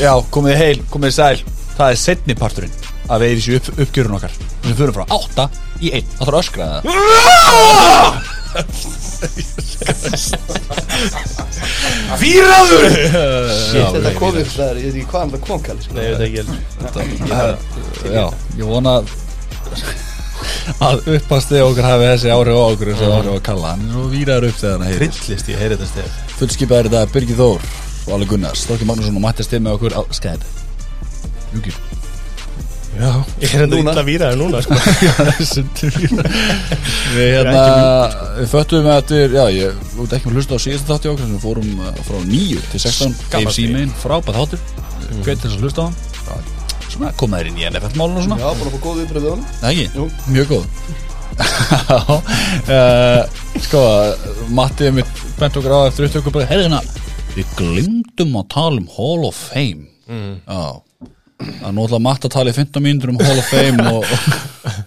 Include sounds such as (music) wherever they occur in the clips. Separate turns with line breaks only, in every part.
Já, komið heil, komið sæl Það er setni parturinn að við erum í upp, uppgjörun okkar Við fyrir frá 8 í 1 Það þarf að öskra það
(laughs)
Fýraður
Já,
Shit, þetta
ég-
kom upp þar, ég veit ekki hvaðan þetta kom kallir sko.
Nei, ég veit ekki
Já, ég vona að- að uppastið okkar hafi þessi áhrif á okkur eins og áhrif á Kalla Hann er svo víraður upp þegar hann heyrir
Trillist ég heyri þetta stef
Fullskipaður í dag Birgir Þór og Alveg Gunnars Storki Magnússon og Matti Stið með okkur á Skype Júkir
Já Ég er enda
Núna.
illa víraður núna (laughs) sko
Við hérna Við föttum eftir Já, ég út ekki með hlusta á síðasta þátti okkar sem við fórum uh, frá 9 til 16
Skammast
AFC
mín.
main, frábæð þáttur mm. Hvet til þess að hlusta á hann Svona koma þér inn í NFL-málun og svona
Já, búin að fá góð viðbröð við honum
Nei, ekki?
Jú.
Mjög góð (laughs) uh, Sko, Matti er mitt bent okkur á eftir upptöku bara, Herri hérna, við glimtum að tala um Hall of Fame mm. Já að nú ætla Matti að tala í 15 mínútur um Hall of Fame (laughs) og, og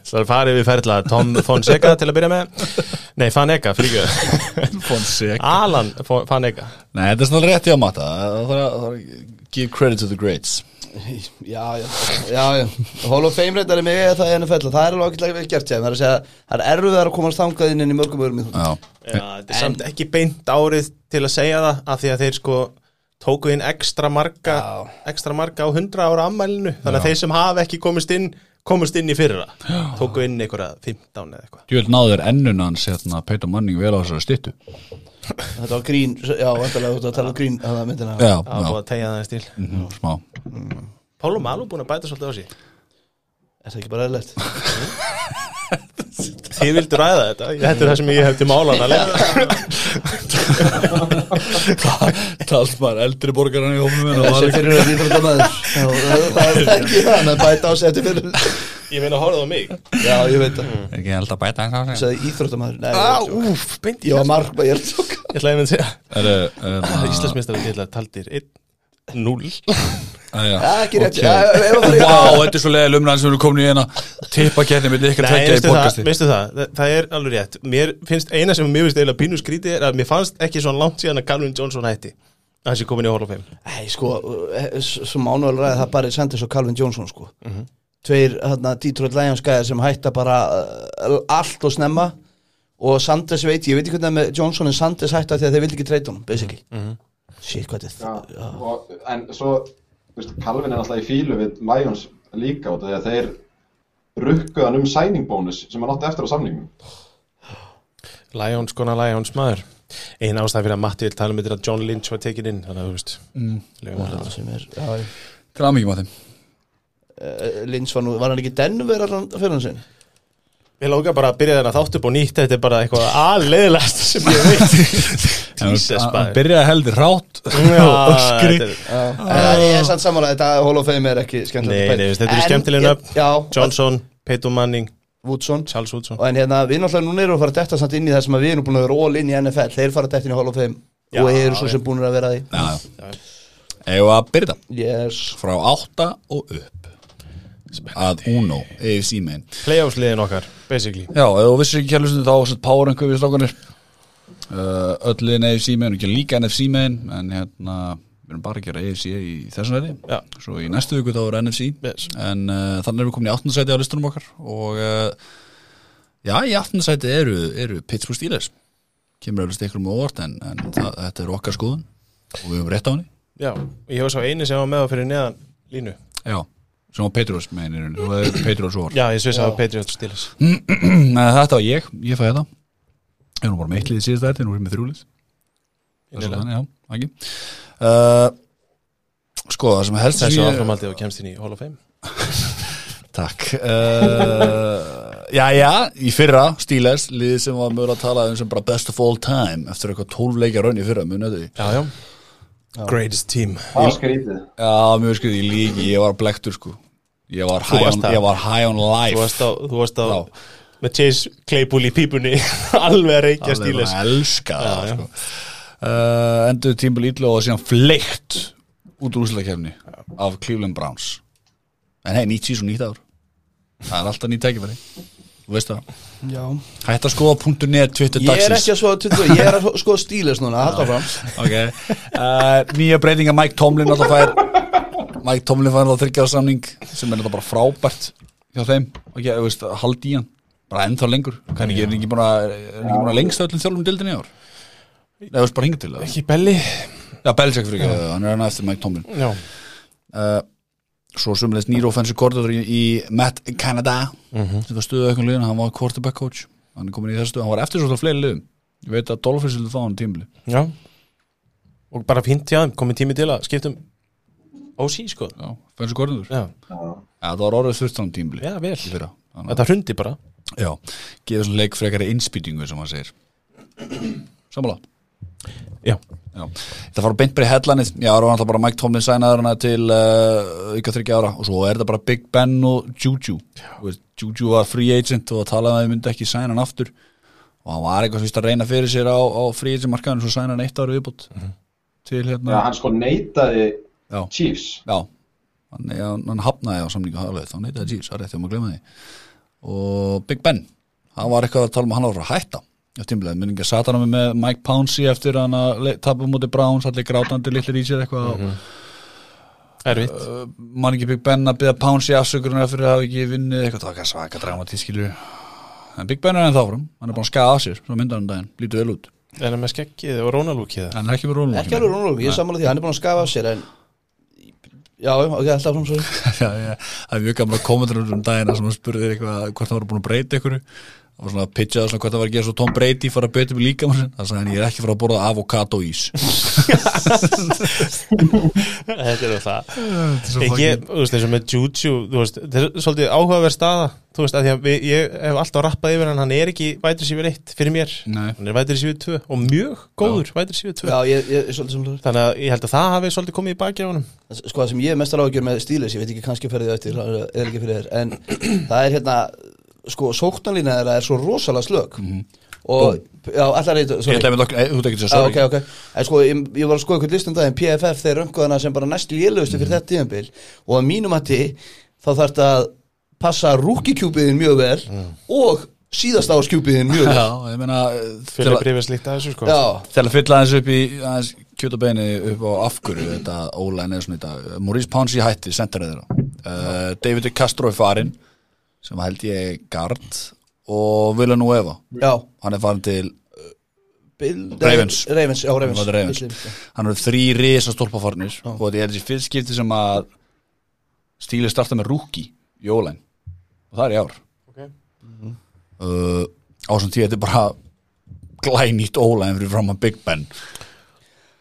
Það er farið við ferla Tom Fonseca til að byrja með Nei, Fanega, fyrir (laughs)
Fonseca
Alan Fo- Fanega
Nei, þetta er svona rétt hjá Matta Það þarf að- það þarf að give credit to the greats
Já, já, já, já Hall of Fame reyndar er mig eða það er NFL Það er alveg ágætlega vel gert, ég Það er að segja, það er erfiðar að komast þangað inn inn í mörgum örum íþróttum.
Já,
Já, þetta er samt ekki beint árið til að segja það af því að þeir sko tóku inn ekstra marga, ekstra marga á 100 ára ammælinu þannig að þeir sem hafa ekki komist inn komist inn í fyrra tóku inn einhverja 15 eða eitthvað
djúvel náður ennun hans hérna, Peter Manning vel á þessari styttu
Þetta var grín, já, vantarlega þú ert að tala um grín Það myndina
Já,
það var
já,
búið að tegja það einn stíl
mhm, smá (laughs)
Pálu Malú búin að bæta svolítið á sig
Er það ekki bara eðlert?
Þið vildu ræða þetta, (laughs) þetta er það sem ég hef til málan að lega
Talt maður eldri borgarinn í hófum
Það er sem fyrir að íþrótta maður Það er ekki það, menn bæta á sig eftir fyrir
Ég meina horfðu á mig
Já, ég veit það
Ekki held að bæta hans á sig
Sæði íþrótta maður, nei,
Mm. Á,
ég var að djóka.
úf, beint í
ég var
hjarta.
mark, ég er að tjóka
Ég ætlaði að mynd að segja
Íslandsmið
Íslandsmeistar við til að taldir 1-0
Það er ekki rétt, já,
Vá,
ef að fara í-
þetta er svo leiðileg umræðan sem við erum komin í hérna Tippa getni með ykkar
Nei,
tvekja í
veistu það,
podcasti
veistu það, það, það er alveg rétt Mér finnst eina sem mér finnst eiginlega pínu skrítið er að mér fannst ekki svona langt síðan að Calvin Johnson hætti að hans ég komin í Hall of Fame
Nei, sko, eh, s- sem ánúvel ræði það Barry Sanders og Calvin Johnson, sko Tveir, hérna, Detroit Lions gæðar sem hætta bara uh, allt og snemma og Sanders veit, ég veit ekki hvernig það er með Johnson en Sanders hætta því að þeir vildi ekki treyta honum, basically Shit, hvað þetta er
Já, og, en svo þú veist, Calvin er alltaf í fílu við Lions líka út af því að þeir rukkuð hann um signing bonus sem hann átti eftir á samningum
Lions, konar Lions maður Einn ástæð fyrir að Matti vil tala um þetta er að John Lynch var tekin inn Þannig að þú veist leyfum að-
Já, sem er, já, já.
Til aðmyggjum að þeim
Eh, Lynch var nú, var hann ekki Denver allan fyrir hann sinn?
Ég lóka bara að byrja þennan þátt upp og nýtt Þetta er bara eitthvað aðleiðilegast sem ég veit Jesus
Hann
maður
byrjaði heldur rátt
(laughs)
(laughs)
Já,
Öskri
þetta er-
Uh, ég er samt samanlega, þetta Hall of Fame er ekki skemmtilegt
Nei, nei, þetta eru
En
skemmtileg
ég-
nöfn.
Já,
Johnson, Peyton Manning,
Woodson
Charles Woodson
og en hérna, við náttúrulega núna erum að fara að detta samt inn í það sem að við erum búin að vera all in í NFL þeir fara að detta inn í Hall of Fame
Já,
og eru svo
já.
sem búin að vera því
Eða að byrja það
yes.
frá 8 og upp að Uno, AFC main
Playoffs liðin okkar, basically
Já, ef þú vissir ekki kjærlega sem þá sett power einhver við slokkanir uh, öll liðin AFC main, ekki líka NFC main en hérna, við erum bara að gera AFC í þessum
Já.
veri, svo í næstu viku þá er NFC,
Yes.
en uh, þannig erum við komin í 18. sæti á listunum okkar og uh, já, í 18. sæti eru, eru Pittsburgh Steelers kemur eflust ykkur um óvart en, en það, þetta er okkar skoðun og við höfum rétt á henni
Já, ég var svo eini sem var með á fyrir neðan línu
Já, sem á Patriots meinir þú er (clears throat) Patriots óvart
Já, ég svissaði að Patriots Steelers
Nei, þetta var ég, ég fæði það Ég er nú bara með eitt lið síðast þetta, nú er ég með þrjúlið Það er svo
Innilega.
þannig, já, ekki uh, Sko, það sem helst
Þessu
sem ég-
áframaldið og kemst inn í Hall of Fame
Takk uh, Já, já, í fyrra Steelers, liðið sem var mögulega að tala um sem bara best of all time eftir eitthvað 12 leikja raun í fyrra, munið þetta
Já, já Greatest team
það var skrítið
Já, mjög skriði, ég líki, ég var blektur sko Ég var high
varst
on,
það.
ég var high on life
Þú varst á, þú varst á
Já.
með Chase Claypool í pípunni (laughs) alveg að reykja
Alveg
Steelers
bara elska það
Já, já.
sko. uh, endur tímbil ítla og síðan fleikt út úr úsleikefni af Cleveland Browns en hei, nýtt síðan nýtt ár það er alltaf nýtt tækifæri þú veist það,
Já.
hætt að skoða punktu net Twitter
ég er
dagsins
ekki að svo ég er að sko stíles núna, halda fram
Eh, okay. uh, nýja breytinga Mike Tomlin alltaf fær Mike Tomlin fann það þryggjaða samning sem er þetta bara frábært hjá þeim og ég veist, haldi í hann bara ennþá lengur, kann ekki, er hann ekki búin að er hann ekki búin að lengsta öllum þjálfum dildin í ár Nei, veist, bara hinga til það
Ekki belli
Já, Belichick fyrir ekki, hann er hann eftir Mike Tomlin
Já,
uh, Svo sumleis nýr offensive coordinator í, í Matt Canada sem var stuðað aukum liðin, hann var quarterback coach hann er komin í þessu stuð, hann var eftir svo fleiri liðum ég veit að Dolphins vildu þá hann tímli
já Og bara fínt hjá þeim, komið tími til að skiptum OC sko
Já, offensive coordinator
Já,
Já, það var orðið 13 tímli
já vel
í fyrra Þannig að-
Þetta hrundi bara
Já, gefa svona leik frekari innspýtingu sem hann segir Sammála
Já,
Já. Það fara beint bara í hellanið Já, það var alltaf bara Mike Tomlin sænaður hana til uh, ykkur þryggja ára og svo er það bara Big Ben og Juju Þú veist, Juju var free agent og það talaði um að þau myndi ekki sæna hann aftur og hann var eitthvað sem víst að reyna fyrir sér á, á free agent markaðinu svo sæna hann eitt ára viðbútt til
Já,
hérna
hann sko neitaði
Já,
Chiefs
já. Hann, já, hann hafnaði á samningu haflið þá neitaði Chiefs, það er rétt um að glema því og Big Ben hann var eitthvað að tala um að hann var að fara að hætta eftir tímlega, minninga sat hann um með Mike Pouncey eftir hann að tapa múti Browns allir grátandi litlir í sér eitthvað
Mhm.
mm
erfitt
mann ekki Big Ben að byrja Pounds í afsökunar fyrir að hafa ekki vinnið eitthvað, það var eitthvað svaka dramatískilu en Big Ben er ennþá fram, hann er búin að skaða af sér svo myndar hann um daginn, lítið vel út
Er það með skeggið og rónalúkið
(laughs) en hann er ekki með rólum
Ekki alveg Rónalum, ég er sammála því, hann er búin að skafa af sér en Já, ok, alltaf fram svo
(laughs) það er mjög gaman að komendur um daginn þar sem hann spurði þér eitthvað hvort það var búin að breyta ykkur og svona að pitcha það svona hvort það var að gera svo Tom Brady fara að beita mig líka maður það sagði hann ég er ekki fara að borða avokado ís
(laughs) Þetta er það Ég, ég, þú veist, eins og með Juju, þú veist, þetta er svolítið áhugaverð staða, þú veist, að því að við, ég hef alltaf rappað yfir hann, hann er ekki vætur sífur eitt fyrir mér,
Nei.
hann er vætur sífur tvö og mjög góður vætur sífur tvö.
Já, ég, ég er svolítið sammála
Þannig að ég held að það hafi svolítið komið í baki á honum.
Sko, það sem ég er mestar ágjör með stílis, ég veit ekki kannski ferðið eftir, það er- er ekki fyrir þér En það er hérna, sko, sóknarlína þeirra er svo rosalega slög Og, já, allar reyta
ég ætla að mynda, þú ert ekki að
Já, ok,
sorry
ok, en sko ég, ég var að skoða eitthvað listum daginn, PFF þeir rönguðana sem bara næst lélugustu fyrir þetta tíðanbíl og að mínum hætti þá þarf þetta að passa rúkikjúpiðin mjög vel og síðast áskjúpiðin mjög vel
já, ég meina eh, til
Fyrir
að-
brifið slíkt að þessu, sko.
Já,
Til að fylla aðeins upp í aðeins kjöt og beini upp á afgöru þetta ólæn eða svona þetta Maurice Pouncey hætti, sendarið þeirra uh, David Castro er farinn sem held ég gard og Vilja nú Eva
já
hann er farinn til,
Bill-
Ravens.
Ravens, já, Ravens,
Hann var Ravens. hann eru þrý risa stólpafarnir og þetta er þessi fyrst skipti sem að stíli starta með rúki í ólæn og það er í ár Mm-hmm.
Ok.
uh, á þessum tíu þetta er bara glænýtt ólæðin fyrir fram að Big Ben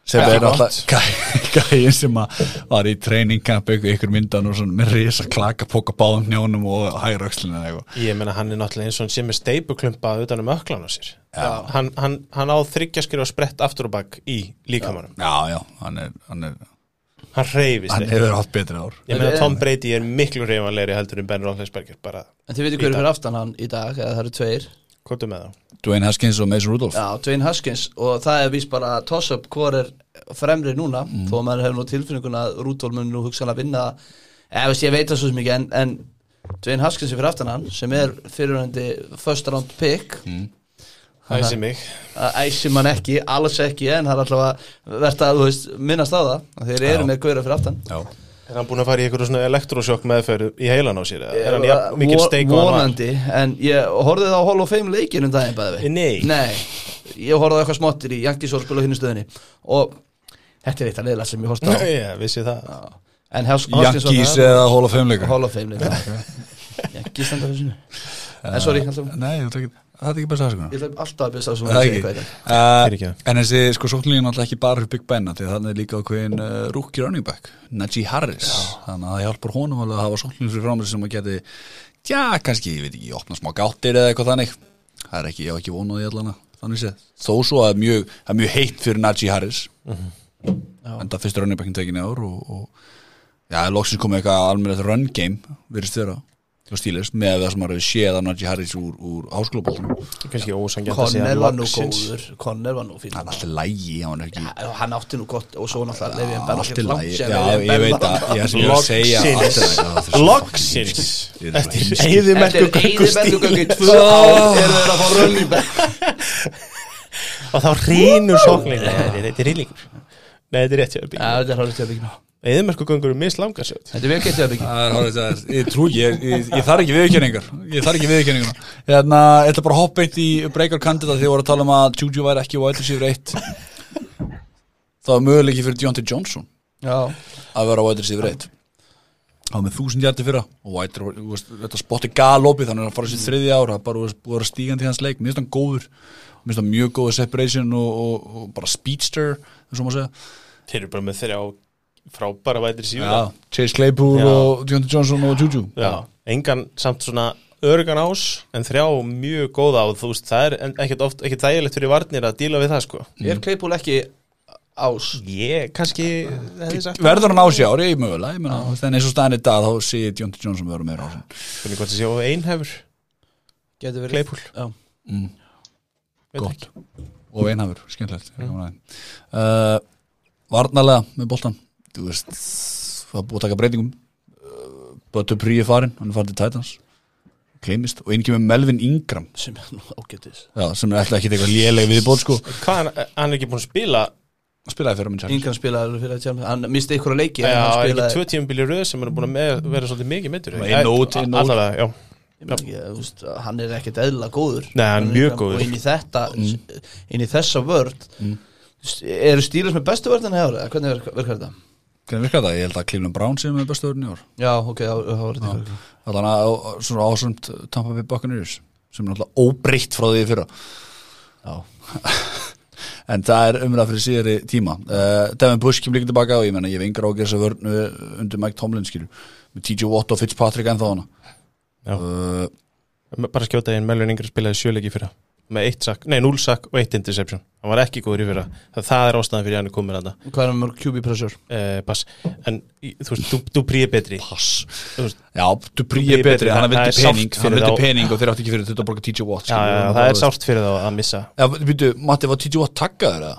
sem
Ekki
er (laughs)
gott.
alltaf gæ- gæinn sem að var í treyningkamp ykkur myndan og svona með risa klaka póka báðum njónum og hægra öxlina eða eitthvað
Ég meina, hann er náttúrulega eins og hann sé með steipuklumpa utan um öklan á sér.
Já.
Hann, hann, hann á þryggjaskir og sprett aftur og bakk í líkamannum.
já, já, hann er hann, er,
Hann reyfist
hann
ekki.
hefur hatt betri ár
Ég meina, Tom Brady er miklu reyfanlegri heldur en Ben Roethlisberger, bara,
En þið veitir hverju fyrir aftan hann í dag, eða það eru tveir
komdu með þá.
Dwayne Haskins og Mason Rudolph
Já, Dwayne Haskins og það er víst bara toss-up hvor er fremri núna þó að maður hefur nú tilfinninguna að Rúdól mun nú hugsanlega vinna eða veist ég veit það svo sem ekki en, en Dwayne Haskins er fyrir aftan hann sem er fyrirhundi first round pick
Æsi mig.
að æsi mann ekki, alls ekki en það er allavega verðt að þú veist, minnast á það að þeir eru með gauðra fyrir aftan
já,
Er hann búin að fara í eitthvað svona elektrosjokk meðferð í heilan á sér? eða? Er hann
Ég-
jafn mikil
von-
steik og hann var?
vonandi, en ég horfði það á Hall of Fame leikinn um daginn bæði við
Nei.
ég horfði á eitthvað smottir í Jankis og spila á hinnu stöðinni og þetta er eitt að leila sem ég
(laughs)
horfði á
Nei, ég vissi það.
Já. en Hels- Hoskins var
Jankís
það-
eða Hall of Fame leika
Hall of
(laughs)
Fame leika Jankis standa fyrir sinu en sorry, alltaf,
nei, ég ætla ekki- það er ekki best aðsökunar
ég ætla alltaf að byrja sá sem
Það
að
ekki.
segja eitthvað í dag.
Uh,
Fyrirgefðu.
en þessi sko sóknlíðin alltaf ekki bara fyrir Big Ben af því að þannig er líka okkur uh, rúkki running back Najee Harris þannig að það hjálpar honum alveg að hafa sóknlíðin fyrir framlega sem að geti já kannski, ég veit ekki, opna smá gáttir eða eitthvað þannig það er ekki, ég hef ekki vonaði allana þannig séð, þó svo að mjög, það er mjög heitt fyrir Najee Harris
Mhm.
en það fyrst running backin tekinni ár og, og já, loksins komið eitthvað almennið run game, virðist þeirra og stílist með það sem maður hefur séð að Najee Harris úr, úr háskólabóltunum
Það er kannski ósangjant að segja
Conner var nú
loksins.
góður Conner var nú fyrir
hann er alltaf lægi, hann er ekki
hann átti nú gott og svo náttúrulega Levi en
Já,
Bell
allt í
ekkert
lagi.
langt sem
Já,
Le'Veon
ég
Bell
veit
var-
að ég er sem ég er að segja allt í lagi. Já, þetta er svo
Loksins.
fucking- Þetta er
Eftir
fucking-
eyðimerku
Eftir eyðimerkugöngu í tvö (laughs)
Ó.
ár eru þeir að fá running back
Og þá rínur sóknir. Nei, nei, þetta er rílingur. Nei, þetta er rétt hjá
Já, þetta er hálfur til að byggja
Eðmerkugöngur er mislanga sjöt
Þetta er vel getið að byggja
Það er horrið, það er, ég trú, ég, ég, ég þarf ekki viðurkenningar Ég þarf ekki viðurkenningar Þannig að Hérna, ég ætla bara að hoppa eitt í breykar kandida því voru að tala um að Juju væri ekki wide receiver 1 Það var möguleiki fyrir Deontay Johnson
Já,
að vera wide receiver 1 Það var með þúsund hjarti fyrra og wide, þú veist, þetta spotti galopið þannig að hann fara sér þriði ár það er bara þú veist, búið að vera stígandi í hans leik, minnst hann góður minnst hann mjög góður separation og, og, og bara speedster, eins og maður segja
Þeir eru bara með þrjá frábæra vætir síðan
Já, Chase Claypool
Já.
og Deontay Johnson og Juju
Engan samt svona örgan ás en þrjá mjög góða á þú veist það er en- ekkert oft, ekkert þægilegt fyrir varnir að díla við það sko
er Claypool ekki ás
Ég kannski hefði sagt það.
Verður hann á sér ári, mögulega, ég meina þú veist, en eins og staðan í dag þá sé ég Deontay Johnson vera meira á sér
Hvernig hvort það séu einhefur
Getur verið
Claypool
Já.
Veit
Gott og einhafur, skemmtilegt mm. uh, Varnalega með boltan þú veist, það er búið að taka breytingum uh, Böttu Prí er farin hann er farin til Titans gleymist og inn kemur Melvin Ingram
Sem er nú ágætis
já, sem er alltaf ekki eitthvað léleg viðbót sko
Hvað, hann, hann er ekki búin að spila
spilaði fyrir minn sér
Ingram spilaði fyrir að tjáma Hann misti ykkur að leiki
Já,
en hann
er ekki
spilaði-
tvö tíum bíli röð sem er búin að með, vera svolítið mikið meittur
Bara inn og út, inn og út.
Allavega, já
Ég meina, ég, þú veist, hann er ekkert eðla góður
Nei, hann er mjög góður.
og inn í þetta, inn í þessa vörd eru stílus með bestu vörðin hefur, eða hvernig verkar verk þetta?
hvernig virkar það, ég held að Cleveland Brown sé með bestu öðrun í ár
Já, ok, þá þá var þetta ykkur.
þannig að á- svona ásönd Tampa Bay Buccaneers sem er náttúrulega óbreytt frá því í fyrra já (laughs) en það er umræða fyrir síðari tíma uh, Devin Bush kemur líka tilbaka og ég menna ég hef yngra ágjör þess að vörnu eh, undir Mike Tomlin skilur með TJ Watt og Fitzpatrick ennþá hana
Já.
uh,
bara skjóta einn Melvin Ingram spilaði sjöleiki fyrir með eitt sakk, nei, núl sakk og eitt interception hann var ekki góður í fyrra það, það er ástæðan fyrir að hann er komin að það
Hvað er hann með mörg QB pressure?
uh, pass, en í- þú veist, þú, þú príði betri
pass
þú veist,
já, Dupree er betri, hann
Það er
vildi
sárt
pening hann
fyrir
vildi
þá.
pening og þeir átti ekki fyrir þetta að borga TJ Watt
já, já, það er sárt fyrir þá að missa
já, býtu, Matti, var TJ Watt takkaður eða?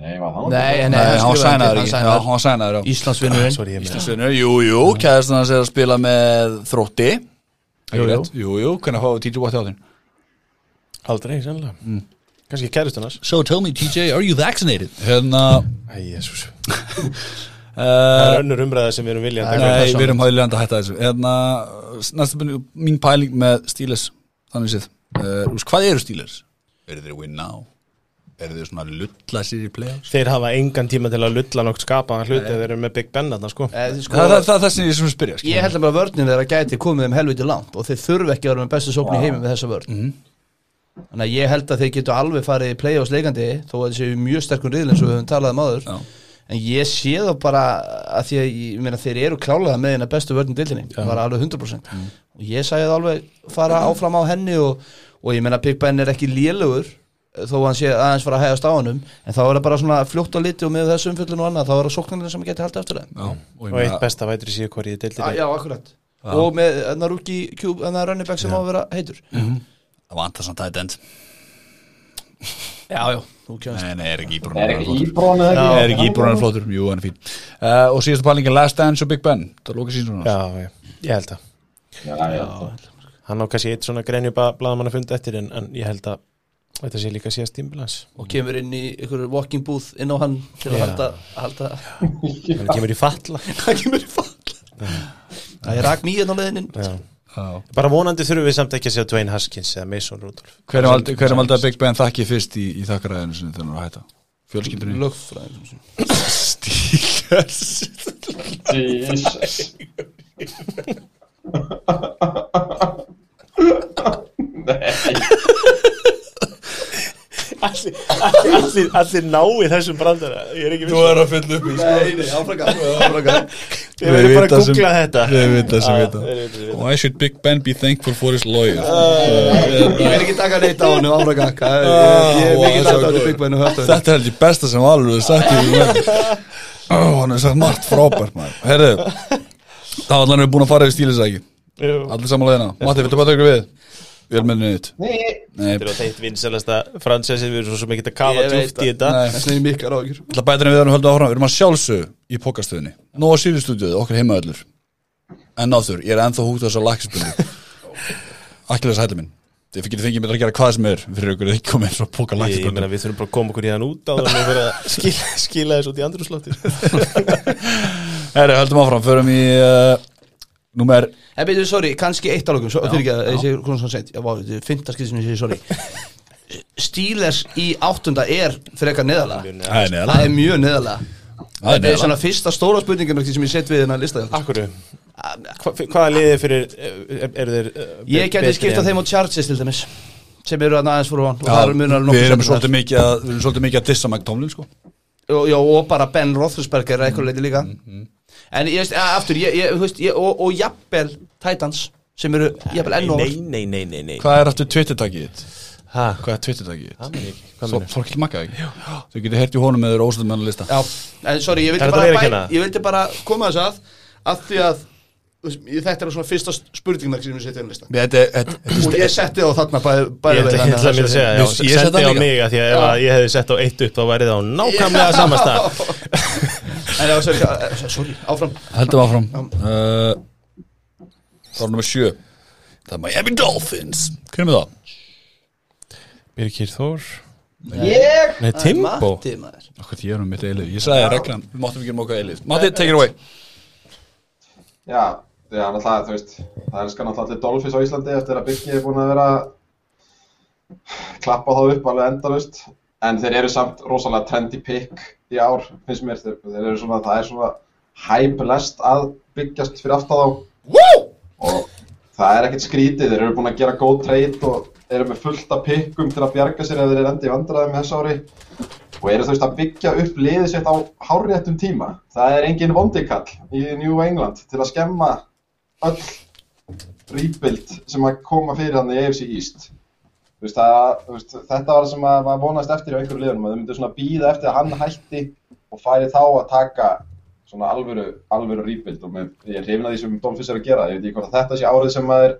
Nei, var það nú ekki?
Nei,
Nei, hann var sænaður
hann
ekki, já, hann
sænaður
var sænaður já.
Íslandsvinnurinn
Ah, sorry, ég meina
Íslandsvinnu, jú, jú, kæðast hans er að spila með þrótti Jú, jú, jú, jú hvernig fáið TJ Watt á þinn
aldrei, sannlega mm. kannski kærist hann
So tell me TJ, are you vaccinated? Hérna,
það
uh,
er önnur umræða sem við erum vilja að
nei,
taka
við erum hægilegandi að hætta þessu Hérna, næsta byrju, mín pæling með Steelers Þannig séð, uh, úst, hvað eru Steelers? Eru þeir win now? Eru þeir svona lulla sér í playoffs?
þeir hafa engan tíma til að lulla nokkuð skapa hluti þegar þeir eru með Big Ben þarna sko
Eh, þið sko,
Það, það, það, það sem ég sem spyrja skilur.
Ég held að bara vörðin þeirra gæti komið þeim helviti langt og þeir þurfi ekki að vera með bestu sókn í heimum með þessa vörð Þannig að ég held að þeir getu alveg farið í play-offs leikandi þó að þeir séu í mjög sterkum riðl eins og við höfum talað um áður
Já.
En ég sé þá bara að því að ég, ég meina, þeir eru klálega með þeirna bestu vörðin dildinni, bara alveg 100% og ég sagði það alveg fara áfram á henni og, og ég meina Big Ben er ekki lélugur þó að hann sé aðeins fara að hægast á honum en þá er það bara svona fljótt á liti og með þessu umfyllun og annað þá er það sóknarnir sem geti haldið eftir þeim
Já, og ég
og eitt
meina,
besta vætur í síðu hvort ég deildi
Ah,
þetta
já, akkurat Og með enna rúki kjúb, enna running back sem á að vera heitur
Mhm. það vantar samt tight end
Já, já, þú kemst
Nei, nei, er ekki íbrúin
Það er ekki íbrón eða ekki?
Er ekki íbrúin flottur, jú, hann er fín uh, Og síðasta pælingin, Last Dance og Big Ben Það lóka síðan svona
já, já, ég held að
Já, já.
hann á kannski eitt svona grenjuba blaðamann að funda eftir en, en ég held að þetta sé líka síðast tímbilans
Og kemur inn í einhverju walking booth inn á hann til
Já.
að halda, halda (laughs)
hann kemur í fatla
Það kemur í fall Það er rak nýjan á leðinin
Já.
bara vonandi þurfum við samt ekki að segja Dwayne Haskins eða Mason Rudolph
Hverjum valdi, hver valdi að Big Ben þakki fyrst í, í þakkaræðinu sinni þegar hann var að hætta? Fjölskyldunni?
Lögfræðin
Steelers
Jesus.
allir, allir, allir nái þessum brandara ég er ekki viss
er að fylla upp í
Nei, nei, áfraka, áfraka.
ég verður bara að googla þetta
Við vita sem
Já, þeir vita sem
vita Why should Big Ben be thankful for his lawyer?
Ég verð ekki taka neitt á hann áfraka Ég ég er
Vá, það
mikið þetta á
var
því
góð.
Big Ben og höftu
Þetta er held ég besta sem alveg hefur sagt í því Ó, hann hefur sagt margt frábært maður Herðu, þá allan er búin að fara yfir stílisæki
Jú.
Allir samanleðina Matti, viltu bara tökur við? Vélmennin þitt Nei,
þetta er á þeitt vinsalasta fransessi við erum svo mikið að kafa
Ég veit
djúft í þetta
nei
Þessna er mikið ráðgjur
Það bætir en við erum höldum áfram, við erum að sjálfsög í pokastöðinni Nó á síðustúdíuð, okkar heima
(laughs)
öllur En náður, ég er ennþá húgt á þessar lakkisbundu Akkilis hætli minn Þið getur fengið mér að gera hvað sem er fyrir ykkur þið komið eins og póka
Ég, ég meina
lækjaböndum
við þurfum bara að koma okkur í hann út á þannig að við verðum
(laughs)
að skila, skila þessu út í andrúrslóttir
Herri, höldum áfram, förum í uh, Númer,
En byrju, sorry, kannski eitt alveg
Já,
Fyrir ekki að
já.
ég sé hvernig svona sent Já, vá, þetta er fintaskýðsinu ég sé, sorry Steelers í áttunda er frekar neðala
það er neðalega
Það er mjög neðala
Það er
Þetta er
neðalega
svona fyrsta stóra spurningamerki sem ég sett við hérna þennan lista hjá okkur.
Akkurru, Hva, hvaða liðið fyrir eh, eru þeir eh, betri
Ég geti skipta
en-
þeim á Chargers til dæmis sem eru að aðeins fyrir hann og
Já,
það eru munar
Við erum
nokkuð
svolítið mikið að, við erum svolítið mikið að dissa McTomlin sko
og, já, og bara Ben Roethlisberger er eitthvað leiti líka en ég veist, ja, aftur ég, ég, þú veist, ég, og, og jafnvel Titans sem eru jafnvel enn og
Nei, nei, nei, nei, nei
Hvað er aftur Twitter-takið þitt?
Hæ?
Hvað er Twitter-takið þitt?
Það meina ég ekki. Hvað
Svo
meinarðu?
Þorkill Magga ekki? Þau getur heyrt í honum með þeir ósöldum með hann lista
já, en sorry, ég vildi,
Er þetta hérna?
bara,
viðurkenna?
bæ, ég vildi bara koma þess að af því að þú veist, ég- þetta er svona fyrsta spurningmerk sem ég setti þennan lista
Þetta er- þetta-
og ég setti á þarna bæði bæ,
Ég ætla ég ætla að mér
Ég- ég seti það líka.
að segja, já, sendi á mig að því að ef að ég hefði sett á eitt upp þá væri það á nákvæmlega samasta
(laughs) en já, sorry, eh, sorry áfram
Heldum áfram uh, Það er nummer sjö Það er Miami Dolphins Hvernig með það?
Birgir Þór
ég
Nei, Timbo
Matti maður
Akkur því erum mitt eilif Ég sagði reglan, við máttum ekki um okkar eilif Matti, take it away
Já, já, náttúrulega, þú veist, það er skan náttúrulega allir Dolphins á Íslandi eftir að Byggi er búin að vera að klappa þá upp alveg endalaust en þeir eru samt rosalega trendy pick í ár, finnst mér, þeir, þeir eru svona, það er svona hype lest að byggjast fyrir aftan þá
Woo!
og það er ekkert skrítið, þeir eru búin að gera góð treyt og eru með fullt af pikkum til að bjarga sér ef þeir eru endið vandræðum þess ári og eru þú veist að byggja upp liðið sitt á háréttum tíma það er engin vondikall í New England til að skemma öll rebuild sem að koma fyrir hann í AFC East Þú veist, að, þú veist, þetta var það sem að maður vonast eftir á einhverju liðunum að þau myndu svona býða eftir að hann hætti og færi þá að taka svona alvöru, alvöru rýpild og með, ég er hrifin að því sem Dolphins er að gera ég veit ekki hvort að þetta sé árið sem maður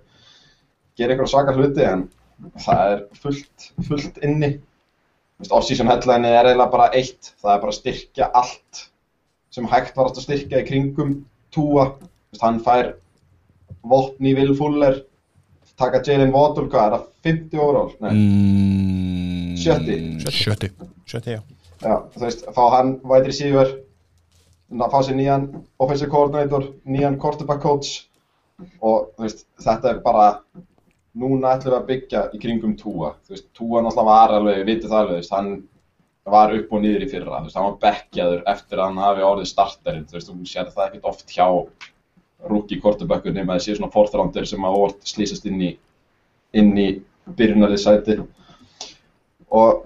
gerir eitthvað svaka hluti en það er fullt, fullt inni Þú veist, off-season headline er eiginlega bara eitt það er bara að styrkja allt sem hægt var að styrkja í kringum túa, Þú veist, hann fær vopni Will Fuller taka Jalen Waddle, hvað er það 50 overall? Nei,
mm,
Sjötti.
Sjötti
Sjötti, já
Já, þú veist, fá hann wide receiver, ná- fá sér nýjan offensive coordinator, nýjan quarterback coach og þú veist, þetta er bara, núna ætlum við að byggja í kringum Túa. Þú veist, Túa náttúrulega var alveg, við vitið það alveg, þú veist, hann var upp og niður í fyrra, þú veist, hann var bekkjaður eftir að hann hafi orðið starterinn, þú veist, þú sér það ekkert oft hjá rookie quarterbackur nema það séu svona forþrándur sem að orð slýsast inn í, inn í byrjunarliðsæti og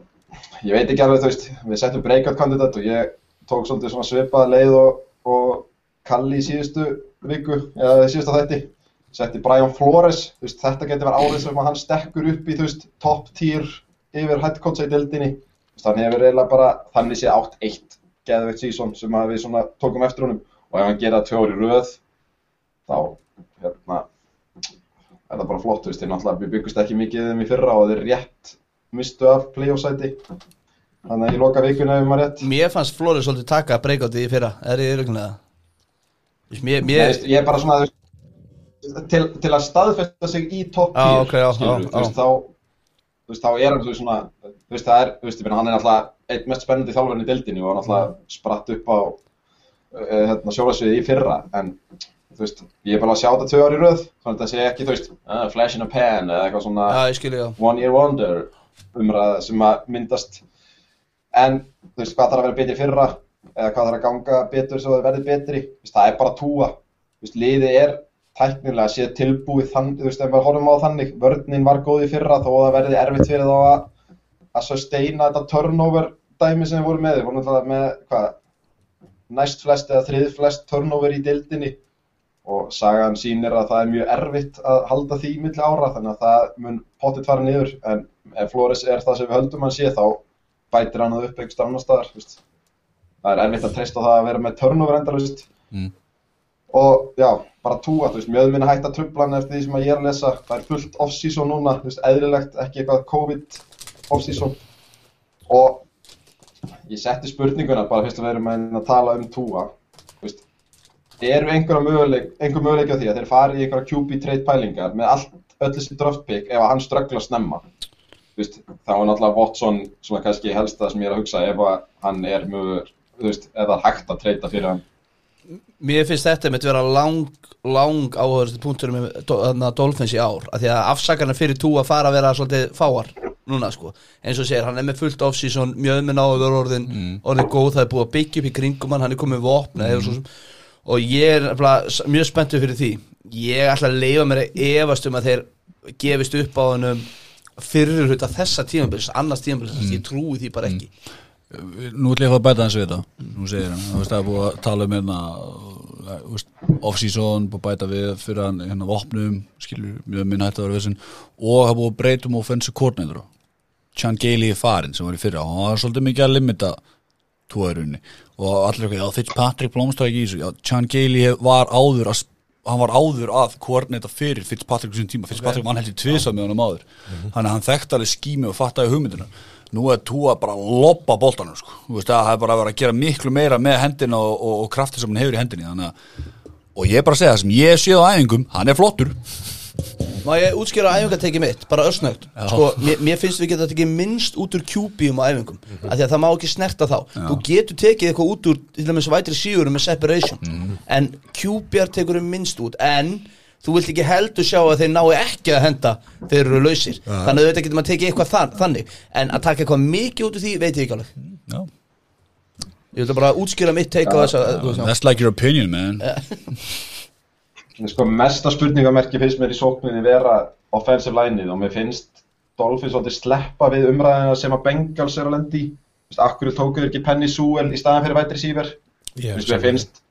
ég veit ekki alveg, þú veist, við settum breakout kandidat og ég tók svolítið svona svipaða leið og, og Kalli í síðustu viku, eða síðustu þætti setti Brian Flores, þú veist, þetta getur verið árið sem að hann stekkur upp í, þú veist, top tier yfir headcoach í deildinni, þú veist, hann hefur eiginlega bara, þannig sé 8-1 geðveikt sísón sem að við svona tókum eftir honum og ef hann gera tjóri röð þá, hérna er það bara flott, þú veist, þeir náttúrulega við byggust ekki mikið um í fyrra og þeir rétt mistu af playoff-sæti þannig að ég loka vikuna ef maður rétt
Mér fannst Flóri svolítið taka að breyka á því í fyrra Er ég rögnulega Mér,
Ég,
mér,
veist, ég er bara svona þú veist, til, til að staðfesta sig í topp
Já,
10
ok, já,
skilurðu,
já,
þú veist,
já.
þá, þú veist, þá er hann þú veist, svona þú veist, það er, þú veist, ég meina, hann er alltaf einn mest spennandi þjálfarinn í deildinni og hann
Mm.
alltaf spratt upp á eh, hérna, sjólasviði í fyrra en þú veist, ég er bara að sjá þetta tvö ár í röð þannig að það sé ekki, þú veist, uh, flash in a pan eða eitthvað svona
já, ég skilja já
one year wonder umræða sem að myndast en þú veist hvað þarf að vera betri í fyrra eða hvað þarf að ganga betur svo það verði betri, þú veist, það er bara túa þú veist, liðið er tæknilega séð tilbúið þannig, þú veist, ef við horfum á það þannig vörninn var góð í fyrra þó að það verði erfitt fyrir þá að að sustaina þetta turnover dæmi sem við vorum með, við vorum alltaf með hvað, næst flest eða þrið flest turnover í deildinni og sagan sýnir að það er mjög erfitt að halda því milli ára þannig að það mun potið fara niður en ef Flores er það sem við höldum hann sé þá bætir hann það upp einhverst annar staðar þú veist. það er erfitt að treysta á það að vera með turnover endalust
Mm.
og já, bara túa þú veist, mjög minna hægt að trubla hann eftir því sem að ég er að lesa það er fullt off-season núna, þú veist, eðlilegt ekki eitthvað COVID off-season og ég setti spurninguna bara fyrst að vera með að tala um túa þú veist, eru einhverja möguleik, einhver möguleik á því að þeir fari í einhverja QB trade pælingar með allt öll þessi draft pick ef að hann ströggla snemma Þú veist, þá er náttúrulega Watson sem er kannski helst það sem ég er að hugsa ef að hann er mjög þú veist, eða hægt að treyta fyrir hann
Mér finnst þetta með að vera lang, lang áhörðustu punktur með do- þarna Dolphins í ár af því að afsakarna fyrir tú að fara að vera svolítið fáar núna sko eins og segir, hann er með fullt off-season mjög með náður orðin, orðin góð það er búið að byggja upp í kringum hann, hann er komið vopna mm. svo, sem- og ég er nefnilega s- mjög spenntur fyrir því ég ætla að leifa mér að efast um að þeir gefist upp á hennum fyrir hluta þessa tímabils annars tímabils, ég trúi því bara ekki
nú ætlum ég að fara að bæta hans við þetta nú segir hann, þú veist það er búið að tala um hérna uh, þú veist, off-season búið að bæta við fyrir hann hérna vopnum skilur mjög minn hætti að vera vissin og það er búið að breyta um offensive coordinator Chan Gailey er farinn sem var í fyrra og hann var svolítið mikið að limita tóðurunni og allir eitthvað, já Fitzpatrick blómstar ekki í þessu, já Chan Gailey hef- var áður að hann var áður að koordinata fyrir Fitzpatrick sem tíma, Fitzpatrick mann heldur tvisað með honum áður, þannig að hann þekkt alveg skími og fattaði hugmyndina, nú er Tua bara að loppa boltanum sko, þú veist að það er bara að vera að gera miklu meira með hendina og, og, og krafti sem hann hefur í hendinni, þannig að og ég er bara að segja það sem ég séð á æfingum, hann er flottur
Má ég útskýra æfingarteki mitt, bara össnögt Sko, mér, mér finnst við getum tekið minnst út úr kjúbíum á æfingum af því að það má ekki snerta þá Þú getur tekið eitthvað út úr, til dæmis vætri sígurum með separation En kjúbjar tekur um minnst út En þú vilt ekki heldur sjá að þeir nái ekki að henda þegar þeir eru lausir Þannig að auðvitað getum að tekið eitthvað þann, þannig En að taka eitthvað mikið út úr því, veit ég ekki alveg
já.
Ég vil bara að útskýra mitt teika á þess að þú veist, já.
that's like your opinion man
En sko, mesta spurningamerki finnst mér í sókninni vera offensive lineið og mér finnst Dolphins svolítið sleppa við umræðina sem að Bengals er að lendi Akkur tóku þér ekki Penny Sewell í staðan fyrir vætri síver
Ég
Mér finnst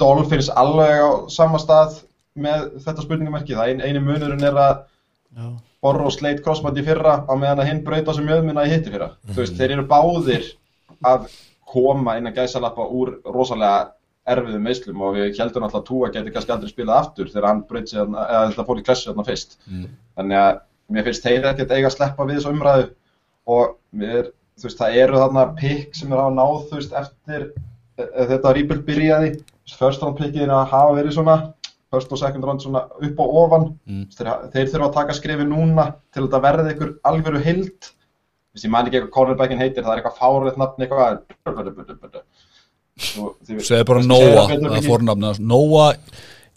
Dolphins alveg á sama stað með þetta spurningamerki það ein, eini munurinn er að Borro sleit crossband í fyrra á meðan að hinn braut á sem jöðmuna í hitti fyrra þú veist, þeir eru báðir að koma innan gæsalappa úr rosalega erfiðum meislum og við heldum alltaf að Túa geti kannski aldrei spilað aftur þegar hann braut sér, eða þetta fór í klessu þarna fyrst þannig að mér finnst þeir ekkert eiga að sleppa við þessu umræðu og mér, þú veist, það eru þarna pikk sem er á náð, þú veist, eftir e- e- þetta rýpult byrjaði first round pickin að hafa verið svona first og second round svona upp á ofan mm. þeir, þeir þurfa að taka skrifi núna til að þetta verði ykkur alvöru hild Vist, ég man ekki eitthvað cornerbackin heitir það er eitthvað fárið nafn eitthvað Þú- þið-
segði bara
Þú veist,
Noah,
segðu
það
betur
er
ekki.
fórnafna Noah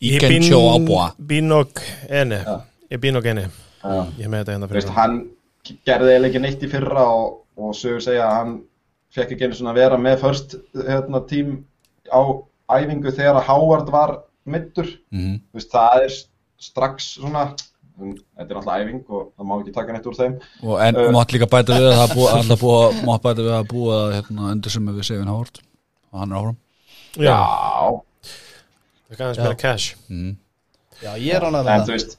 Ikencho Abwa
Bínok Ene Ég Bínok Ene
Já.
Ég er með þetta hérna
Þú veist,
fyrir
hann gerði eiginlega ekki neitt í fyrra og, og sögur segja að hann fekk ekki einu svona að vera með först hérna, tím á æfingu þegar að Howard var mittur
Mhm.
Þú veist, það er strax svona mm, þetta er alltaf æfing og það má ekki taka neitt úr þeim
og en
Eh.
uh, mátt líka bæta við að það er búið alltaf búið mátt bæta við að búið að hérna, endur sem við Sevin Howard og hann er áfram
Já
Já,
Það kannast meira cash
já, ég er ánað með
en
það
þú veist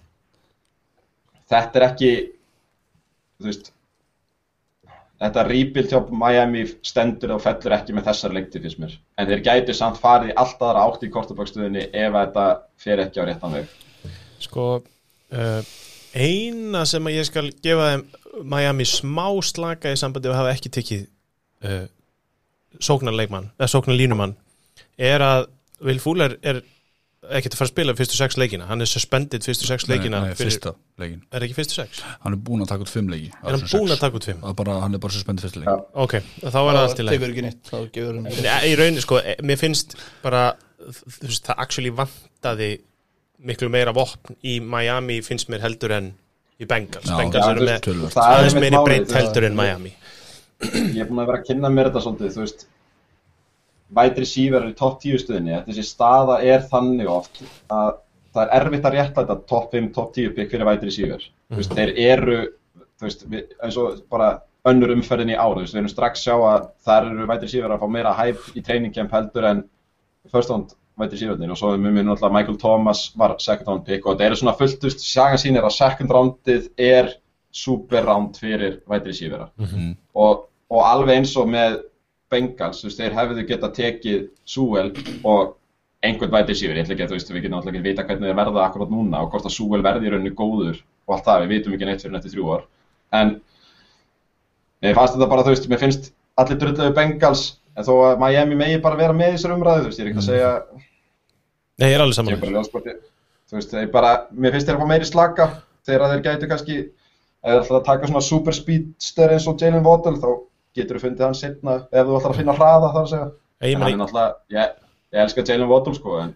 þetta er ekki þú veist þetta rebuild hjá Miami stendur og fellur ekki með þessar leikti fyrst mér en þeir gætu samt farið í allt aðra átt í kortabakstuðinni ef að þetta fer ekki á réttan veg
Sko uh, Eina sem að ég skal gefa þeim Miami smá slaka í sambandi við hafa ekki tekið uh, sóknarleikmann eða sóknarlínumann er að Will Fuller er ekkert að fara að spila fyrstu sex leikina hann er suspended fyrstu sex leikina
nei, nei,
fyrir-
fyrsta leikin
er ekki fyrstu sex
hann er búin að taka út fimm leiki
er hann búin að taka út fimm
bara, hann er bara suspendið fyrsta leikin
ok, þá er það allt í leik
Tekur ekki neitt, þá gefur hann
Nei, í rauninni sko, e- mér finnst bara þú veist, það actually vantaði miklu meira vopn í Miami finnst mér heldur en í Bengals,
Já,
Bengals
já,
eru
þú-
með
töluvert.
það er
aðeins
einmitt
meiri
málið,
breytt
það-
heldur en Miami
ég er búin að vera að kynna mér þetta svolítið þú veist vætri síver í topp 10 stuðinni að þessi staða er þannig oft að það er erfitt að réttlæta topp 5, topp 10 pikk fyrir vætri síver þú veist, þeir eru þú veist, við, eins og bara önnur umferðin í ára, þú veist, við erum strax sjá að þar eru vætri síver að fá meira hæf í treiningkemp heldur en first round vætri síverðin og svo við munum alltaf Michael Thomas var second round pick og þetta eru svona fullt, þú veist, sjagan sín er að second roundið er super round fyrir vætri sívera og, og alveg eins og með Bengals, þú veist, þeir hefðu geta tekið Súel og einhvern vætið síður, ég ætla ekki að þú veist, við getum alltaf ekki að vita hvernig þeir verða akkurat núna og hvort að Súel verði í rauninu góður og allt það, við vitum ekki neitt fyrir nætti þrjú ár, en mér fannst þetta bara, þú veist, mér finnst allir drulluðu Bengals, en þó að Miami megi bara vera með í þessar umræðu, þú veist, ég er ekki að segja
Nei, ég er alveg
ég er
saman
bara ljóðsporti, þú veist, ég bara, mér finnst þeir að fá meiri slaka þegar þeir gætu kannski ef þeir ætlaði að taka svona super speedster eins og Jalen Waddell þá getur þú fundið hann setna ef þú ætlar að finna hraða þar að segja
Ég,
en hann er
meni,
náttúrulega, ég, ég elska Jalen Waddell sko en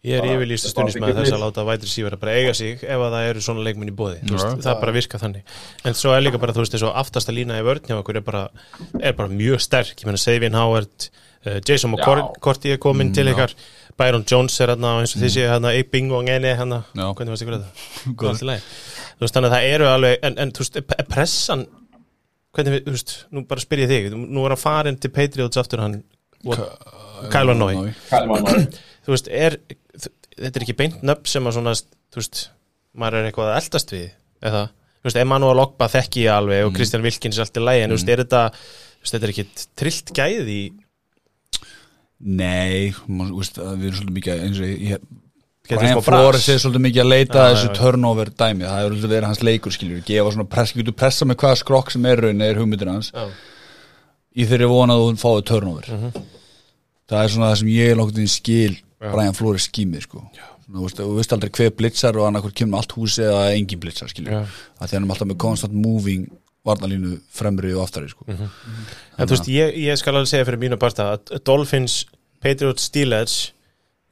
ég er yfirlýst
bara
stundismæð
byggja
þess að
lið.
láta vætri síver að bara eiga sig ef að það eru svona leikmenn í bóði
Já.
veist, það bara virka þannig en svo er líka bara, þú veist, þessu aftasta lína í vörn hjá okkur er bara, er bara mjög sterk ég meina Savin Howard, uh, Jason
Já.
McCourty er
Mm,
komin til ykkar Byron Jones er hérna og eins og þið séu hérna Bing og Ngeni hérna,
Já.
hvernig varst
(laughs)
ykkur þetta?
Góð.
Allt í lagi. Þú veist, þannig að það eru alveg en, en þú veist, er pressan hvernig við, þú veist, nú bara spyr ég þig nú er hann farin til Patriots aftur hann Kæla Nói
Kælmann
þú veist, er þ- þetta er ekki beint nöfn sem að svona þú veist, maður er eitthvað að eldast við eða, þú veist, Emanuel Ogba þekki ég alveg
Mm.
og Kristján Vilkins allt í lægi en þú veist, er þetta, þú veist, þetta er ekki trillt gæði í,
Nei, maður- þú veist, að við erum svolítið mikið eins og ég- ég
Getur
Brian
smá bras.
Flores er svolítið mikið að leita að
sko Já,
þessu
já, já.
turnover dæmi það hefur svolítið verið hans leikur skilur gefa svona press, getur pressa með hvaða skrokk sem er raun er hugmyndin hans
Já. Mhm.
í þeirri vona að hún fáið turnover það er svona það sem ég er langt inn skil Brian Flores skímið sko Svona, þú veist, og þú veist aldrei hver blitzar og annarkur kemur allt húsi eða engin blitzar skilur
Já.
að því hann er alltaf með constant moving varnalínu fremri og aftari sko
Mhm. en þú veist, ég, ég skal alveg segja fyrir mínu parta að Dolphins, Patriots, Steelers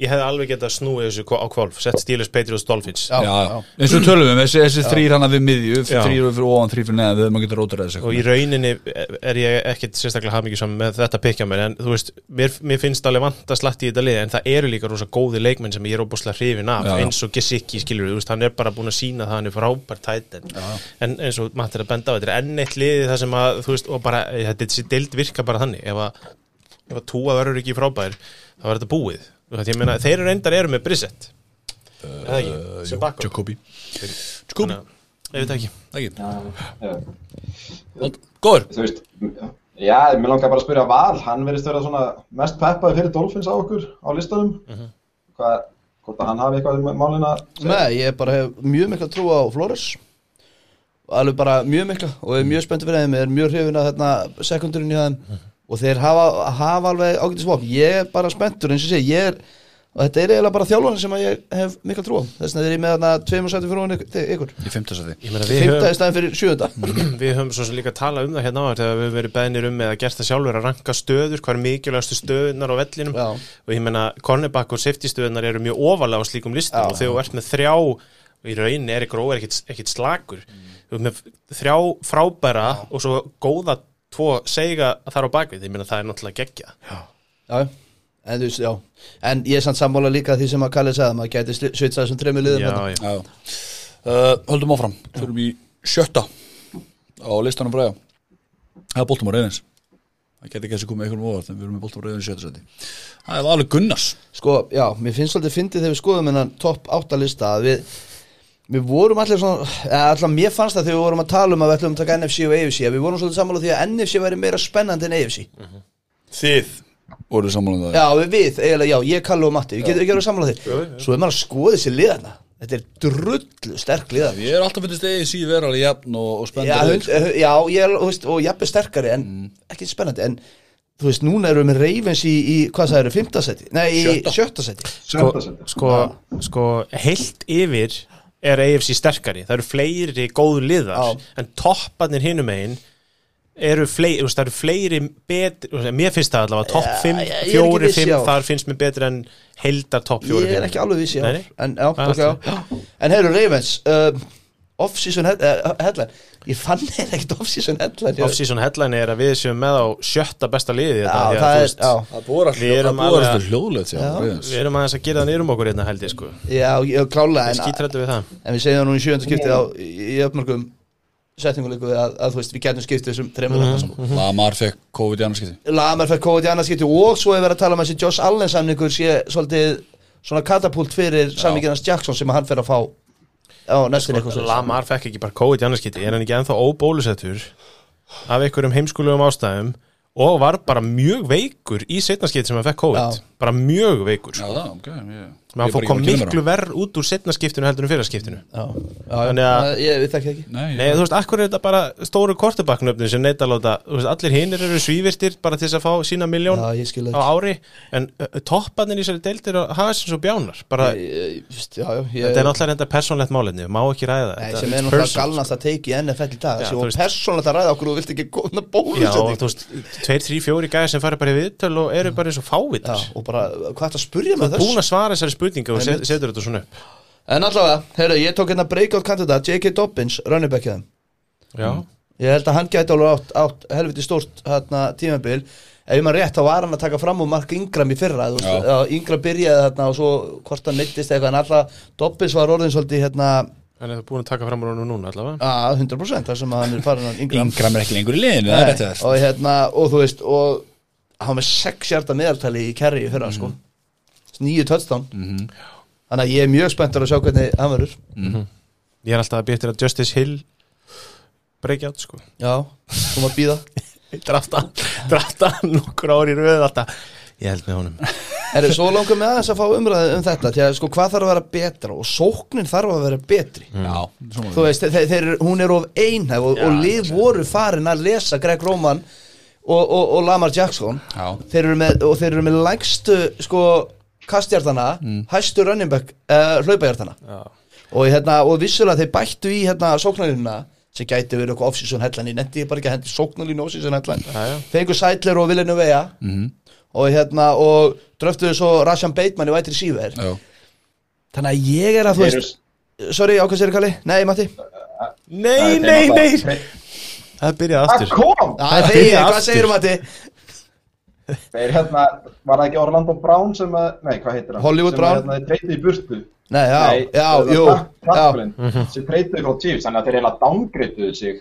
ég hefði alveg getað snúið þessu á kvolf, sett Steelers, Patriots, Dolphins
já, já. eins og tölum við, þessi, þessi þrýr hana við miðju
Já.
þrýr fyrir ofan, þrýr fyrir neðan, við maður getur rótur að þessu
og í rauninni er ég ekkit sérstaklega hafmyggjusam með þetta pikja mér en þú veist, mér, mér finnst alveg vant að slatti í þetta lið en það eru líka rosa góði leikmenn sem ég er óbúslega hrifin af
Já, já.
eins og Gesicki skilur, þú veist, hann er bara búin að sína það hann er frábært tætin en eins og maður er að benda á þetta er enn eitt liði það sem að, þú veist, og bara, eh, þetta þessi deild virka bara þannig, ef að, ef að túa verður ekki frábær, þá er þetta búið þú veist, ég meina, þeir eru endar eru með Brissett er það ekki, sem bakkur
Jacobi
Jakob, ég veit það ekki
Jacobi,
Já.
góður
þú veist, já, mér langar bara að spyrja Val, hann verðist vera svona mest peppaði fyrir Dolphins á okkur á listanum hvað, hvort að hann hafi eitthvað um málin að segja?
Nei, ég bara hef mjög mikla trú á Flores alveg bara mjög mikla og er mjög spennt fyrir þeim, er mjög hrifin að þarna sekundurinn hjá þeim
Mhm.
og þeir hafa, hafa alveg ágætisvop ég er bara spenntur eins og sé, ég er og þetta er eiginlega bara þjálfarinn sem að ég hef mikla trú á þess vegna er ég með þarna tveim og sættum fyrir hún ykkur, ykkur.
í fymtasæti
Ég meina, við höfum- Mhm.
fymta í staðin fyrir sjöunda
Við höfum svo sem líka talað um það hérna áður þegar við höfum verið beðnir um eða gert það sjálfur að ranka stöður, hvað er mikilvægastu stöðunar á vellinum
Já.
og ég meina cornerback og safety stöðunar eru mjög ofalega á slíkum listum
Já.
og þegar þú ert með þrjá og í rauninni er gróð er ekkit, ekkit slakur
Mm.
þú ert með þrjá frábæra og svo góða tvo seiga þar á bakvið, ég meina það er náttúrulega geggja
Já, en, þú veist, já. en ég er samt sammála líka því sem að Kalli sagði maður gæti svitsað þessum tremur liðum
Já,
þarna.
já.
Já. Uh, höldum áfram þurfum í sjötta á listanum fræða það er Baltimore Ravens það geti ekki að þessi komið einhverjum óvart en við erum með Baltimore Ravens í sjötta sæti það er alveg Gunnars
Sko, já, mér finnst svolítið fyndið þegar við skoðum hennan topp áttalista að við, við vorum allir svona, eða allar mér fannst það þegar við vorum að tala um að við ætlum að taka NFC og AFC að við vorum svolítið sammála því að NFC væri meira spennandi en AFC
Þið
voruð sammálan það
Já, við, við, eiginlega, já, ég Kalli og Matti, við getum ekki að vera sammála því Svo er maður að skoða þessi liðana, þetta er drullu sterk liðan
ég er alltaf finnst eigið síð vera alveg jafn og, og
Já,
spennandi
hund- eh, já, ég er, þú veist, og jafnir sterkari en ekki spennandi, en þú veist, núna erum við með Ravens í, í hvað það eru, fimmtasæti, nei, í
Sjötta.
sjöttasæti
sko,
Sjötta sæti.
sko, sko heilt yfir er AFC sterkari það eru fleiri góðu liðar
Já.
en topparnir hinum einn eru fleiri, þú veist, það eru fleiri betri, þú veist, mér finnst það allavega topp
Já,
5,
ég- ég er ekki
4,
viss,
5
já.
þar finnst mér betri en heldar topp 4, 5
Ég er ekki alveg vissi
Nei, nei.
En, já,
Það er
okay,
allt
já. en heyrðu Ravens uh, Off-season head- eh, headline Ég fann (laughs) þeir ekkert off-season headline
off-season headline er að við séum með á sjötta besta liði
Já,
þetta, því að,
það
þú
er,
veist,
já,
það búið alltaf
Við erum
það búið
alveg-
alltaf hljóðlegt hjá
Já.
Ravens
við erum aðeins að gera það nýrum okkur hérna held ég sko,
já, ég klála en,
skítrættu við það
en við segjum það nú í sjöndu skiptið á í í öfnmörgum setninguleiku að, að þú veist, við getum skiptið þessum þreymur
Mhm.
mm sko.
Mhm. Lamar fekk COVID í annarskipti
Lamar fær kóðið í annars skiptið og svo hefur verið að tala um þessi Josh Allen samningur sé svolítið svona katapult fyrir samninginans Jackson sem hann fer að fá á næstinni eitthvað svo
Lamar fekk ekki bara COVID í annarskiti er hann ekki ennþá óbólusettur af einhverjum heimskulegum ástæðum og var bara mjög veikur í setnaskiti sem hann fekk COVID
Já.
bara mjög veikur
Já,
sko.
það, ok ég-
menn hann
ég bara
fór
ekki
kom
búinn að kynna mér
miklu
á.
verð út úr setna skiptinu heldur en fyrra skiptinu
Já,
Þannig
já,
að-
ég við þekki það ekki
Nei,
Nei, þú veist, akkur er þetta bara stóru kortebaknöfnin sem neitt að láta, þú veist, allir hinir eru svívirtir bara til þess að fá sína miljón
Já, ég skil það
á ári, en uh, topparnir í þessari deild eru að hafa sem svo bjánar bara,
Ég- ég- just, Já, já, ég
þetta er náttúrulega þetta persónlegt málefni, má ekki ræða
Nei,
þetta
sem er
it's
náttúrulega
personal.
galnast að teiki í NFL í dag
Já,
sem
þú
var
veist-
persónlega að ræða okkur og þú vilt ekki góðna
Já, og
bólusending
þú veist, tveir, þrý, fjóri gæðar sem fara bara í viðtöl og eru bara eins og
Já,
fávitar
og bara, hvað er að spurja með þessu?
Búin að svara þessari spurningu og set,
Einmitt.
setur þetta svona upp
En allavega, heyrðu, ég tók hérna breakout kandidat J.K. Dobbins, running back hérna
Já,
Ég held að hann gæti alveg átt, átt helviti stórt hérna, tímabil Ef maður rétt, þá var hann að taka fram úr Mark Ingram í fyrra þú veist,
Já.
já, Ingram byrjaði þarna og svo hvort hann meittist eitthvað En alltaf, Dobbins var orðin svolítið hérna
hann er búin að taka fram úr honum núna allavega
að 100% þar sem að hann er farin að Ingram
Ingram er ekki lengur í liðinu, það er rétt hjá
Nei,
þér.
og hérna, og þú veist og hann var með 6 hjarta meðartali í kerri í fyrra, sko nýju touchdown
Mhm.
þannig að ég er mjög spenntur að sjá hvernig hann verður
Ég er alltaf að býttir að Justice Hill breykja át, sko
já, þú maður býða
Drafta, drafta nokkur ári í röð alltaf Ég held með honum
Herri, svo langar mig aðeins að fá umræði um þetta því að sko, hvað þarf að vera betra og sóknin þarf að vera betri
Já, svona
þú veist, þeir, þeir, hún er of einhæf og, og lið voru farin að lesa Greg Roman og, og, og Lamar Jackson
Já.
þeir eru með, og þeir eru með lægstu sko, kastjartana hæstu running back, uh, hlaupajjartana
Mm. Já.
og, hérna, og vissulega þeir bættu í hérna, sóknarlínuna sem gæti verið eitthvað off-season hellan ég nefndi bara ekki að hendi sóknarlínu off-season hellan
já.
fengu Sætler og Villeneuve
Mhm.
og, hérna, og dröftuðu svo Rashan Bateman í vætri síver
Já,
þannig að ég er að þú
Þeir eru-
veist sorry, ákvæmst er Kalli, nei Matti
það
Nei,
er
nei,
þeim alltaf-
nei Það byrjaði
Það
aftur
kom!
Æ,
Þetta
þegi,
er
hvað
aftur.
segir Matti?
Þeir hérna, var það ekki Orlando Brown sem að, nei hvað heitir hann?
Hollywood
sem að,
Brown.
Hérna, þeir treytið í burtu.
Nei, já,
nei,
já,
það var
jú já,
Dak-
Mhm.
Takkulinn sem treytið frá Chiefs, þannig að þeir heila dángrituðu sig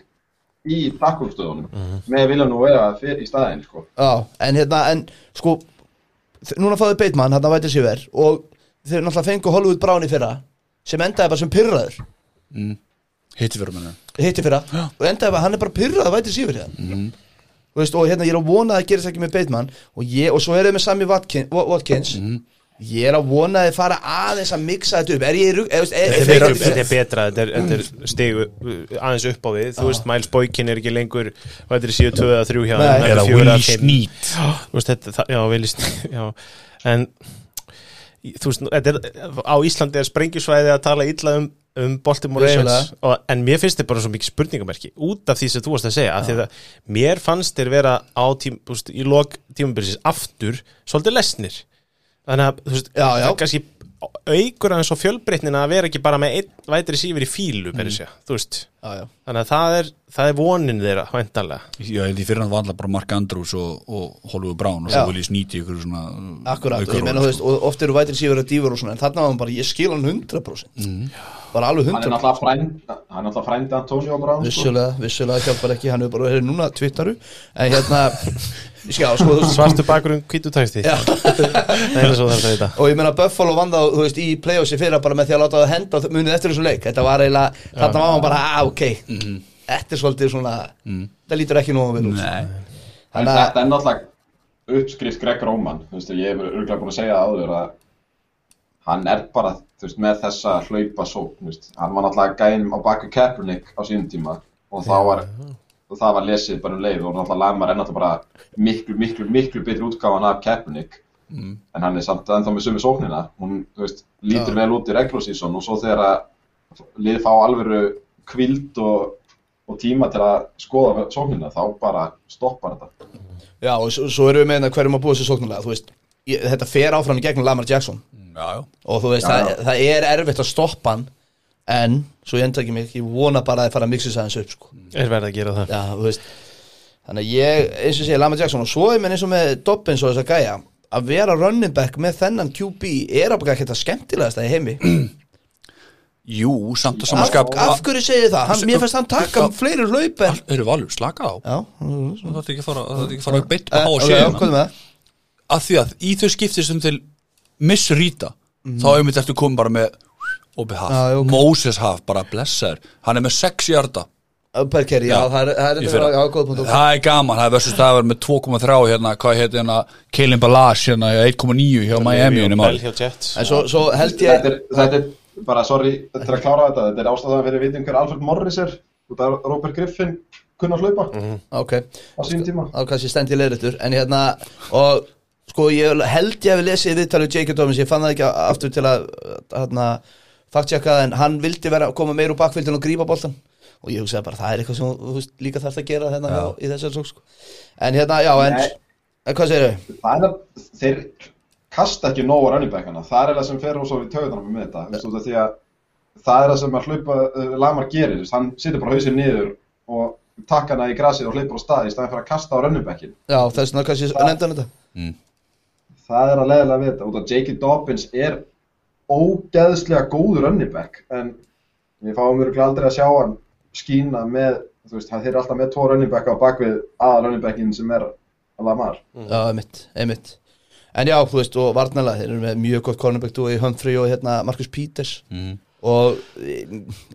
í takkumstöðunum
Mhm.
með vilja nú vera fyr, í staðinn, sko.
já, en hérna, en sko þ- Núna fáðu Beitmann, hérna vætið sér ver Og þeir náttúrulega fengu Hollywood Brown í fyrra Sem endaði bara sem pyrraður
hitti fyrir mennum
Hitti fyrra, og endaði bara, hann er bara pyrraður Vætið sér verið hérna
Mhm.
Þú veist, og hérna, ég er að vona að það gerist ekki með Beitmann Og ég, og svo er þau með Sammy Watkins, Watkins.
Mhm.
Ég er að vona að þið fara aðeins að mixa þetta upp Er ég í rugg, eða,
Þetta er
eða,
betra- þetta er betra, þetta er, þetta er stig uh, aðeins upp á við, þú veist, Miles Boykin er ekki lengur, hvað þetta er síðu 2 eða 3 hjá
Nei.
hann, hann er
Eða
fjögur
Willy
af fimm.
Sneed
Þú veist, þetta, það- já, Willy Sneed, (laughs) já, en þú veist, þetta er, á Íslandi er sprengjusvæði að tala illa um, um Baltimore Ravens,
Vissulega.
og, en mér finnst þetta bara svo mikið spurningamerki, út af því sem þú varst að segja, af því að mér fannst þér vera á tím, þú veist, í lok tímabyrsis aftur, svolítið lesnir, þannig að, þú veist,
Já, já.
það er kannski aukur aðeins á fjölbreytnina að vera ekki bara með einn vætri sífur í fílu, mm. segja, þú veist,
já, já.
þannig að það er, það er vonin þeirra, væntanlega.
Já, ég held ég fyrir hann var alltaf bara Mark Andrews og, og Hollywood Brown og svo
Já.
vil ég sníti ykkur svona uh,
Akkurat, og ég
aukaróli,
meina þú veist,
sko.
og oft eru vætir síður að dífur og svona, en þarna var hann bara, ég skil hann 100%
Mhm.
bara alveg
Hann er
100%
náttúrulega frænd, hann er náttúrulega frændi Antonio Brown, sko.
vissulega, vissulega hjálpar ekki, hann er bara hér núna twittaru, en
(laughs)
hérna skjá, sko, þú veist
Svartu bakurum hvítu takti
Já.
Það er svo þarf að þetta
og ég meina Buffalo vann þá, þú veist, í playoffsi fyrra bara með því að láta það henda munið eftir þessum leik þetta var eiginlega, þarna var hann bara, að ok
Mhm.
þetta er svolítið svona það lítur ekki nógu vel út
Nei,
En
þannig að,
þetta er náttúrulega uppskrift Greg Róman, þú veist, ég hef örgulega búin að segja það áður að hann er bara, þú veist, með þessa hlaupasókn, þú veist, hann var náttúrulega gæðin á baku Kaepernick á sínum tíma og það var, og það var lesið bara um leið og náttúrulega Lamar er náttúrulega bara miklu, miklu, miklu betri útgáfan af Kaepernick
Mm.
en hann er samt ennþá með sömu sóknina, hún, þú veist, lítur vel út í regular season og svo þegar að lið fá alvöru kvild og, og tíma til að skoða sóknina, þá bara stoppar þetta.
já, og svo, svo erum við með hérna hverjum að búa sér sóknulega, þú veist ég, þetta fer áfram í gegnum Lamar Jackson
já, já
og þú veist,
Já,
það, það er erfitt að stoppa hann en, svo ég enda ekki mig, ég vona bara að það fara að mixa þess aðeins upp sko.
Er verið að gera það
já, þú veist þannig að ég, eins og sé, Lama Jackson og svo er mér eins og með Dobbins og þess að gæja að vera running back með þennan QB er að baka ekki það skemmtilegast að ég heimi
Jú, samt að
af,
samanskap
af hverju segir það, hann, mér finnst hann taka fleiri hlaup en
Eru valur, slaka á
já, mm,
Það þarf ekki að fara, það þarf ekki að fara að beitt á E,
eh,
og
ok,
séu
já, hvað er með það?
Af því að í þau skiptir sem til Miss Rita Þá hefum við þetta komið bara með Opið haf,
Mhm. Já, já, ok.
Moses haf, bara blessaður Hann er með sex hjarta
Berger, já,
Já.
það er, það
Í
er,
fyrra.
já, góð punkt
Það er gaman, það er versus það var með 2,3 hérna, hvað heit hérna Kaelin Balash hérna, 1,9 hjá Miami
og
hérna,
Bell
maður.
hjá Jets
En svo, svo held ég
þetta, er, þetta er bara, sorry, til að klára þetta þetta er ástæðan fyrir að vita um hver Alfred Morris er út af Robert Griffin kunna að hlaupa
Ok,
á sínum tíma
þá kannski stend ég leiðrættur En hérna, og sko ég held ég að við lesið viðtalið J.K. Thomas Ég fann það ekki aftur til að hérna, faktjaka það En hann vildi vera að koma meir úr bakvildin og grípa boltan Og ég hugsaði bara, það er eitthvað sem þú veist, líka þarf að gera hérna, hjá- í þessari sók sko. En hérna, já, en,
Nei.
en hvað segir þau?
það er að þeir kasta ekki nóg á running backana, það er það sem fer og svo við töðunum með þetta, þú veist, út af því að það er það sem að hlaupa, uh, Lamar gerir þú veist, hann situr bara hausinn niður og takk hana í grasið og hleypur á staði í staðin fyrir að kasta á running backin,
Já, þess vegna kannski nefndi hann þetta
það er að leiðilega við þetta, út af J.K. Dobbins er ógeðslega góður running back en við fáum mjög aldrei að sjá hann skína með, þú veist, hann þeir eru alltaf með tvo running backa á bakvið aða running backin sem er Lamar
Já, einmitt, einmitt En já, þú veist, og varnalega, þeir eru með mjög gott cornerback duo í Humphrey og hérna Marcus Peters og eh,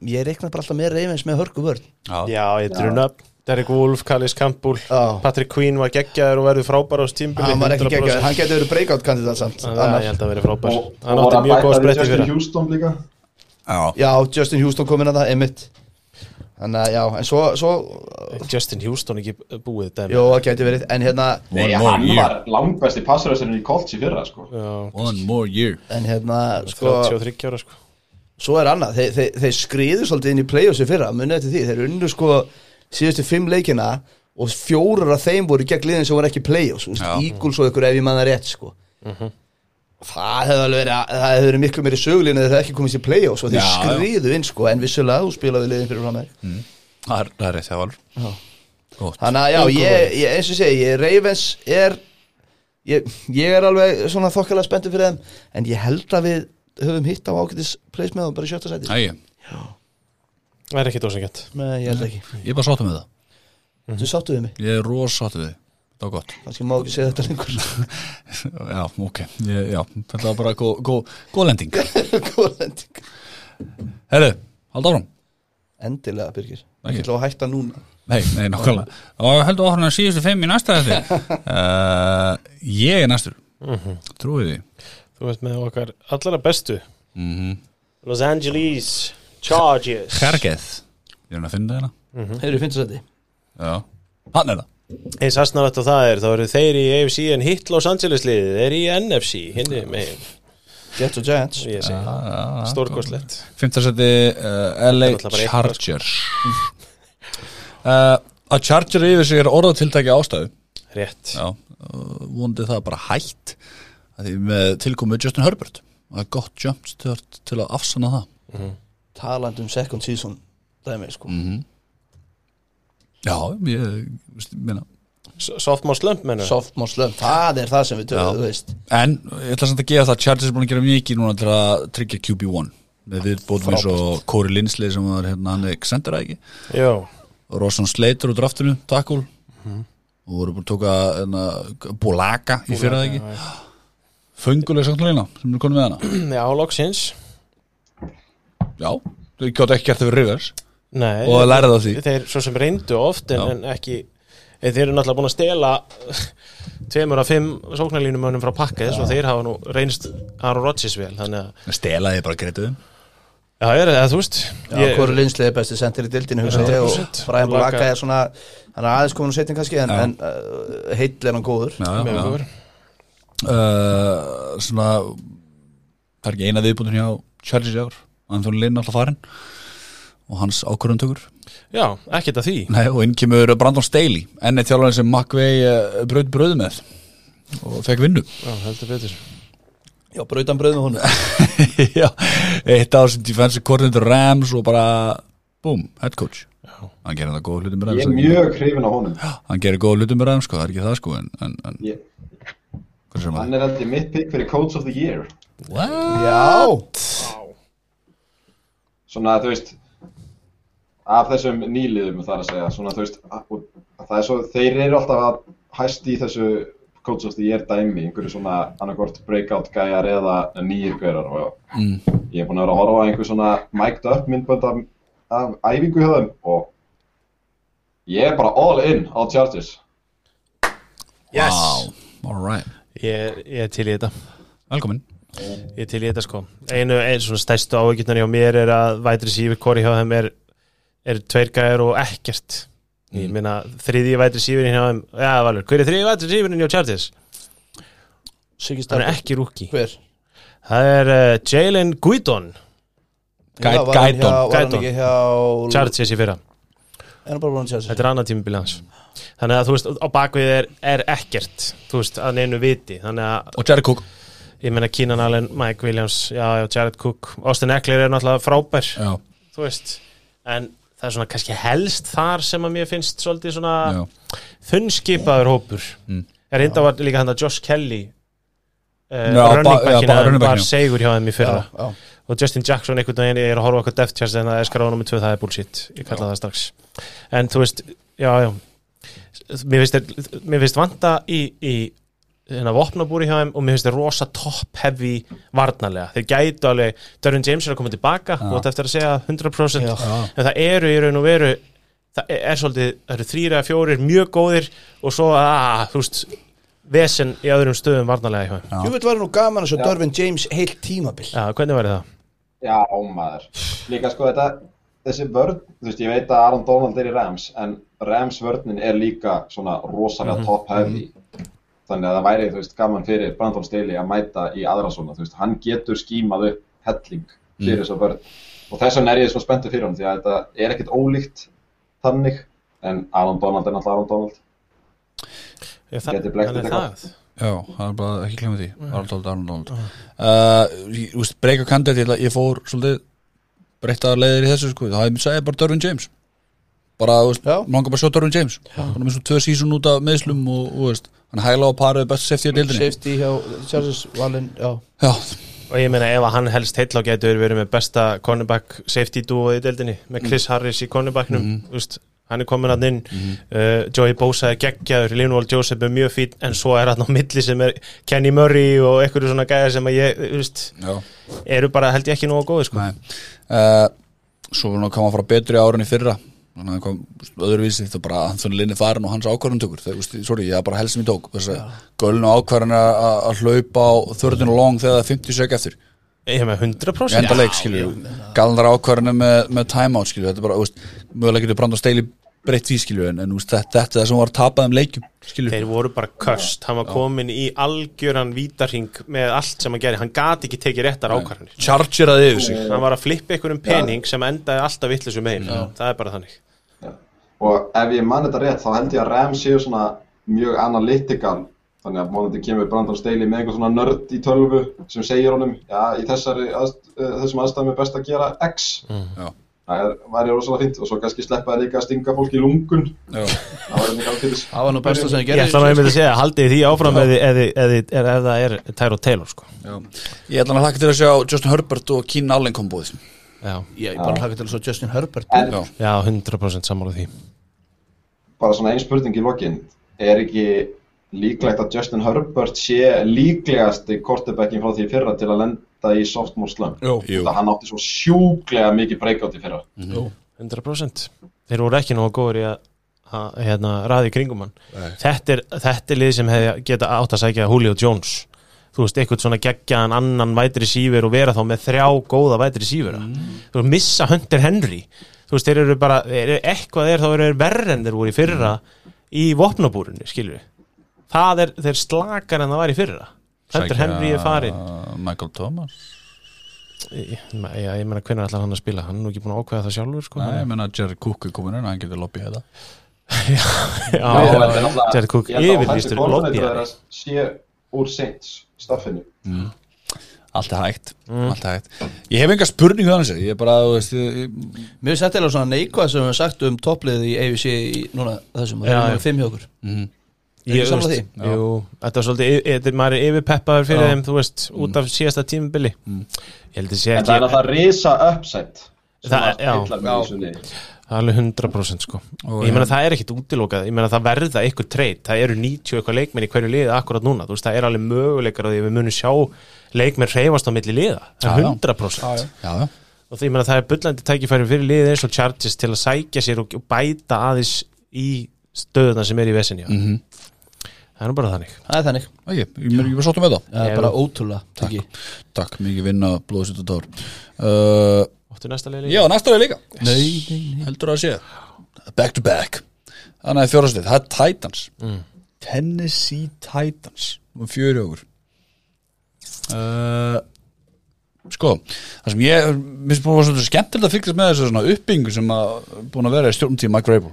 ég reikna bara alltaf með reyfins með hörku vörn
Já.
Já, ég drun upp Derek Wolf, Kallis Campbell
Já.
Patrick Queen var geggjaður og verður frábær á stímbili
hann var ekki geggjað, hann getur verið breakout kandidat samt
Ég
annars.
held að verið frábær
og, og
Hann
voru
átti
að
mjög góð
bæta við
spretti fyrir
Justin Houston líka
Já.
Já, Justin Houston kom inn að það, einmitt Þannig að já, en svo, svo
Justin Houston ekki búið dæmi
Jó, það getur verið, en hérna
One
Nei,
more
hann
year.
var langbæsti passröðsirinn í Colts í fyrra, sko.
Já,
One more year.
en hérna, sko,
33 ára sko
svo er annað þeir, þeir, þeir skriðu svolítið inn í play-offs í fyrra munið eftir því, þeir unnu sko síðustu fimm leikina og fjórar af þeim voru gegn liðin sem voru ekki play-offs úst,
Já.
Eagles og ykkur ef ég manna rétt sko og það hefði alveg verið það hefði verið miklu meiri sögulín eða þeir hefðu ekki komist í play-offs og þeir
Já, já.
skriðu inn sko en vissulega þú spilaði liðin fyrir fram með
Það er, það er rétt, það var Gótt.
þannig að já, ég, ég, eins og segi, ég, Ravens er ég, ég er alveg svona þokkalega spenntur fyrir þeim en ég held að við höfum hitt á ágætis place með þeim bara í sjötta sæti
Æ,
Það er ekki dósangjönd
Nei, ég held ekki,
ég er bara sáttu með það.
þú sáttu við mig
Ég er rosa sáttu við. þig. Það var gott.
kannski má ekki segja þetta lengur
(laughs) Já, ok. Ég, já, þetta var bara góð gó, gó lending.
Góð ending.
Herru, halda áfram.
endilega Birgir
Ekki.
ekki til að hætta núna
Nei, nei, nákvæmlega. Og heldur áfram að síðustu fimm í næsta þetta. (laughs) Uh, ég er næstur.
Mhm.
Trúið því.
Þú veist með okkar allra bestu Los Angeles Chargers
Kergeð. Ég er hann að finna þetta.
hefur þið finnst þetta
Já. Hann er það.
Eins aðsnarætt og það er, þá eru þeir í AFC en hitt Los Angeles liðið er í NFC hinni megin,
Jets og Giants
ég segi
já,
það Stórkoslegt
Fymtarsæti uh, LA
náttúrulega bara eitt
Chargers uh, Að Charger yfir sig er orðatiltæki ástæðu
Rétt
Já, uh, vonandi það bara hætt að því með tilkomu Justin Herbert og það er gott jumpstart til að afsanna það
taland um second season dæmi sko
Mhm. Já, ég, veist, minna
S- Sophomore slump menur
softmore slump það er það sem við
Já.
tökum þú veist
En ég ætla samt að gefa það að Chargers er búin að gera mikið núna til að tryggja QB1 með viðbótum eins og Corey Linsley sem var hérna hann er Xander eða ekki
Jó,
Rosson Slater úr draftinu, takkul Mhm. og voru búin að tóka hérna, Bolaga í fyrir það ekki Fönguleg samtluleina sem er konum með (clears throat) hana
já, loksins
Já, þau gjótt ekki gert það fyrir Rivers
Nei,
Og lærið á því.
Þeir svo sem reyndu oft en,
Já.
en ekki en Þeir eru náttúrulega búin að stela tveimur af fimm sóknarlínum önum frá pakkið og þeir hafa nú reynst Aaron Rodgers vel þannig að,
Stelaði bara greituðum
já, ég er það, þú veist
Já, Kori Linsley er besti sendir í dildinu hugsaði ég, og
100%.
Brian
Bulaga.
Blaka er svona hann er aðeins komin á setjum kannski en,
Já.
en uh, heill er hann góður
Já, já,
Mjög
já
góður.
uh, Svona Það er ekki eina viðbúndin hjá Chargers í ár Anthony Lynn alltaf farinn og hans ákvörðumtökur
já, ekkert að því
Nei, og inn kemur Brandon Staley enn eitt þjálfarinn sem McVay uh, braut bröðu með og fekk vinnu
Já, heldur betur
já, brautan brauð með honum
(laughs) Já, eitt ár sem defensive coordinator Rams og bara boom, head coach hann gerir það góð hlutum með
Ég er
Rams
mjög hrifin á honum.
hann gerir góð hlutum með Rams, sko, það er ekki það sko en, en, en
Ég,
hvað sem
hann er held ég mitt pick fyrir Coach of the Year.
að
já,
Svona, þú veist, af þessum nýliðum þar að segja, svona, þú veist, að- og það er svo, þeir eru alltaf að hæst í þessu Coach of the Year dæmi, einhverju svona annarkort breakout gæjar eða nýjir gæjar og ég er búin að vera að horfa á einhver svona mækt upp myndbönd af, af æfingu hjá þeim og Ég er bara all in á Chargers
Yes
Wow, alright
ég, ég er til í þetta
Velkomin
Ég er til í þetta sko Einu, einu svona stærstu áhugjunar hjá mér er að vætri sífur kori hjá þeim er, er tveir gæjar og ekkert Ég meina þriðji vætri sífurinn hjá þeim Já, valur, hver er þriðji vætri sífurinn hjá Chargers?
Siggi
Það
Stark
er ekki rúki
Hver?
Það er uh, Jalen Guidon
Gæ-
Já, var hann
Gædon.
hjá- Var hann
Gædon.
ekki hjá
Chargers í fyrra
Er hann bara búin að Chargers?
Þetta er annað tímabili hans Þannig að þú veist, á bakvið er, er ekkert Þú veist, að neinu viti Þannig að,
Og Jerry Cook
ég meina Keenan Allen, Mike Williams Já, já, Jared Cook Austin Eckler er náttúrulega frábær
Já,
Þú veist, en það er svona kannski helst þar sem að mér finnst svolítið svona
já,
þunnskipaður hópur mm. Er reynda var líka hann að Josh Kelly Uh,
Já,
running
ba- já,
backina
bara running
var
backinu.
segur hjá þeim í
Já,
fyrra
já
og Justin Jackson einhvern veginn ég er að horfa okkur deft tjast en það er skráð nummið 2 það er bullshit ég kalla það strax en þú veist, já, já mér finnst, þeir- mér finnst vanda í, í hérna vopnabúri hjá þeim og mér finnst þeir rosa top heavy varnarlega, þeir gætu alveg Darren James er að koma tilbaka og þetta eftir að segja 100% en það eru í raun og veru það e- er, er svolítið, það eru þrýra eða fjórir mjög góðir og svo að, þú veist vesen í öðrum stöðum varnarlega hjá þeim
Já.
Jú veit var nú gaman að svo Dörfin James heilt tímabil
já, hvernig væri það?
Já, ómaður Líka sko þetta, þessi vörn Þú veist, ég veit að Aaron Donald er í Rams En Rams vörnin er líka svona rosalega top heavy Þannig að það væri, þú veist, gaman fyrir Brandon Staley að mæta í aðra svona Þú veist, hann getur skímað upp helling fyrir þessa vörn Og þess vegna er ég svo spenntur fyrir hann Því að þetta er ekkit ólíkt þannig En Aaron Donald er náttúrulega Aaron Donald
Já, það,
Gæti blekkt
þannig
þetta
það.
já, það er bara ekki klemur því Arnold, Arnold, Arnold uh, Ég þú veist, breyka kandið til að ég fór svolítið breyttaðar leiðir í þessu sko Það hefði mér segið bara Dörfin James Bara, þú veist,
Já.
langar bara að sjá Dörfin James Hann er með svona tvö sísun út af meðslum og, og veist, hann hæla á parið best safety í deildinni
Safety hjá Chargers Valin, já
Já,
Og ég meina ef að hann helst heitla og getur verið með besta cornerback safety duo í deildinni með Chris Harris í cornerbacknum mm -hmm. hann er komin hann inn uh, Joey Bosa er geggjaður, Linval Joseph er mjög fín en svo er hann á milli sem er Kenny Murray og einhverju svona gæðar sem að ég, þú veist,
já,
eru bara held ég ekki nógu góði sko.
nei uh, Svo hann kom að fara betri ára en í fyrra Þannig að hann kom þú veist, öðruvísi þetta bara Anthony Linn er farin og hans ákvarðantökur Þegar, þú veist, sorry, ég er bara helst sem ég tók Þess að gölnu ákvarðan að að hlaupa á þörðinu long þegar það er 50 sek eftir
Ég með 100%
enda leik, skilju galnar ákvarðinu með, með timeout, skilju þetta er bara, úst, mögulega getur brand og steili breytt því, skilju, en, en úst, þetta, þetta er það sem var tapað um leikjum, skilju
Þeir voru bara köst, hann var komin í algjöran vítarhing með allt sem hann gerði hann gati ekki tekið réttar ákvarðanir
chargeraði yfir sig
hann var að flippa einhverjum pening sem endaði alltaf vittlisum megin, það er bara þannig
og ef ég man þetta rétt þá held ég að Rams séu svona mjög analytical þannig að mónandi kemur Brandon Staley með einhver svona nörd í tölvu sem segir honum já, í þessari, aðst, eh, þessum aðstæðum er best að gera X
Já.
það er, væri rosalega fínt og svo kannski sleppa það líka að stinga fólk í lungun
Já.
það var einhver ákveðis
Það var nú besta sem ég
Ég
gerði
ætla að ég myndi að segja, haldið því áfram eða eð, eð, eð, eð, eð það er Tyro Taylor sko.
Já. ég ætla að hlaka til að sjá Justin Herbert og Keen Allen kombóið
já.
Ég bara hlaka til að svo Justin Herbert
en
Já.
já, 100% sammála því
bara svona ein spurning í lokin er ekki líklegt að Justin Herbert sé líklegasti kortebækin frá því í fyrra til að lenda í softmore slump
Jú.
það hann átti svo sjúklega mikið breakout í fyrra
100% Þeir voru ekki nógu góður í að, að hérna, ræði kringum hann þetta er, þetta er lið sem hefði geta átt að sækja Julio Jones þú veist, eitthvað svona geggjaðan annan vætri sífur og vera þá með þrjá góða vætri sífura þú veist, missa Hunter Henry þú veist, þeir eru bara, er, eitthvað er þá eru þeir verri en þeir voru í fyrra í vopnabúrunni, skilur við það er, þeir slakar en það var í fyrra Hunter Henry er farin
Michael Thomas,
Ég, ég, ég meina hvernig ætlar hann að spila hann er nú ekki búin að ákveða það sjálfur sko.
Nei, ég menna Jerry Cook er komin en hann getur lobby þetta
já, já,
Nei, þetta er náttúrulega-
Jared Cook
ég held að
yfirlýstur
offensive
lobbyari.
coordinator þeirra sé úr Saints staffinu
allt er hægt,
Mm.
allt er hægt ég hef enga spurningu þannig að ég er bara, þú veist ég, ég,
Mér finnst þetta eða svona neikvað sem við höfum sagt um toppliðið í AFC í núna þessum
Já,
Það er
já. Mhm.
núna fimm hjá okkur Ég
Ég,
er sammála
þú
því
veist, jú, þetta er svolítið yfir- þetta er- maður er yfirpeppaður fyrir þeim þú veist, út af síðasta tímubili ég held að sé
en það
ekki
er að það risa upset sem
Það-
að
já.
heillar mig í þessu liði.
(laughs) alveg 100% sko.
Ó,
ég meina
já.
það er ekkit útilokað ég meina það verða eitthvað treyt, það eru 90 eitthvað leikmenn í hverju liða akkurat núna, þú veist, það er alveg möguleikar að við munum sjá leikmenn reyfast á milli liða,
Já,
það er
já.
100%
já, já,
og því ég meina það er bullandi tækifæri fyrir liðið eins og Chargers til að sækja sér og og bæta aðeins í stöðuna sem er í vesinni mm -hmm. það er nú bara þannig
Það er þannig
Æ, ég, ég, ég var sáttum með það
Það
Já.
er bara ótrúlega Takk
Takk, mikið vinna, blóðsýtt og tár uh,
Óttu næsta leili
Já, næsta leið líka Nei, nei, heldur að sé Back to back Þannig að fjórastið, það er Titans Tennessee Titans um fjöri okkur uh, Sko, það sem ég mér finnst búin að vera svolítið skemmtilegt að fylgjast með þessu svona uppbyggingu sem að búin að vera í stjórnum tíma Mike Rabel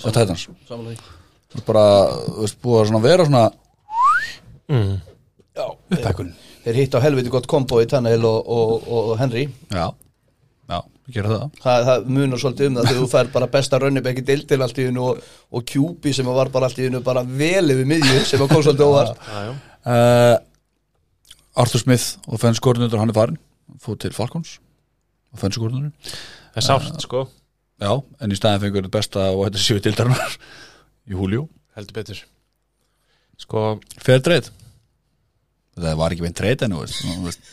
og Titans
Samanlega
Það er bara, þú veist, búið að svona vera svona Mm.
Já
Bekkun
Þeir hitt á helviti gott kombo í Tannehill og, og, og, og Henry
Já, já, við gera það
Það, það munar svolítið um það þegar þú fær bara besta rönnibæk í deildin allt í hennu og, og QB sem var bara allt í hennu bara vel yfir miðju sem að kom
(laughs)
svolítið óvart
uh, Arthur Smith og fennskórnundur hann er farin fór til Falcons og fennskórnundur
það er sárt sko
já, en í staðin fengur þetta besta og þetta séu (laughs) dildarnar í húljó
heldur betur sko
fer treyð það var ekki beint treyð en þú veist, þú (laughs) veist,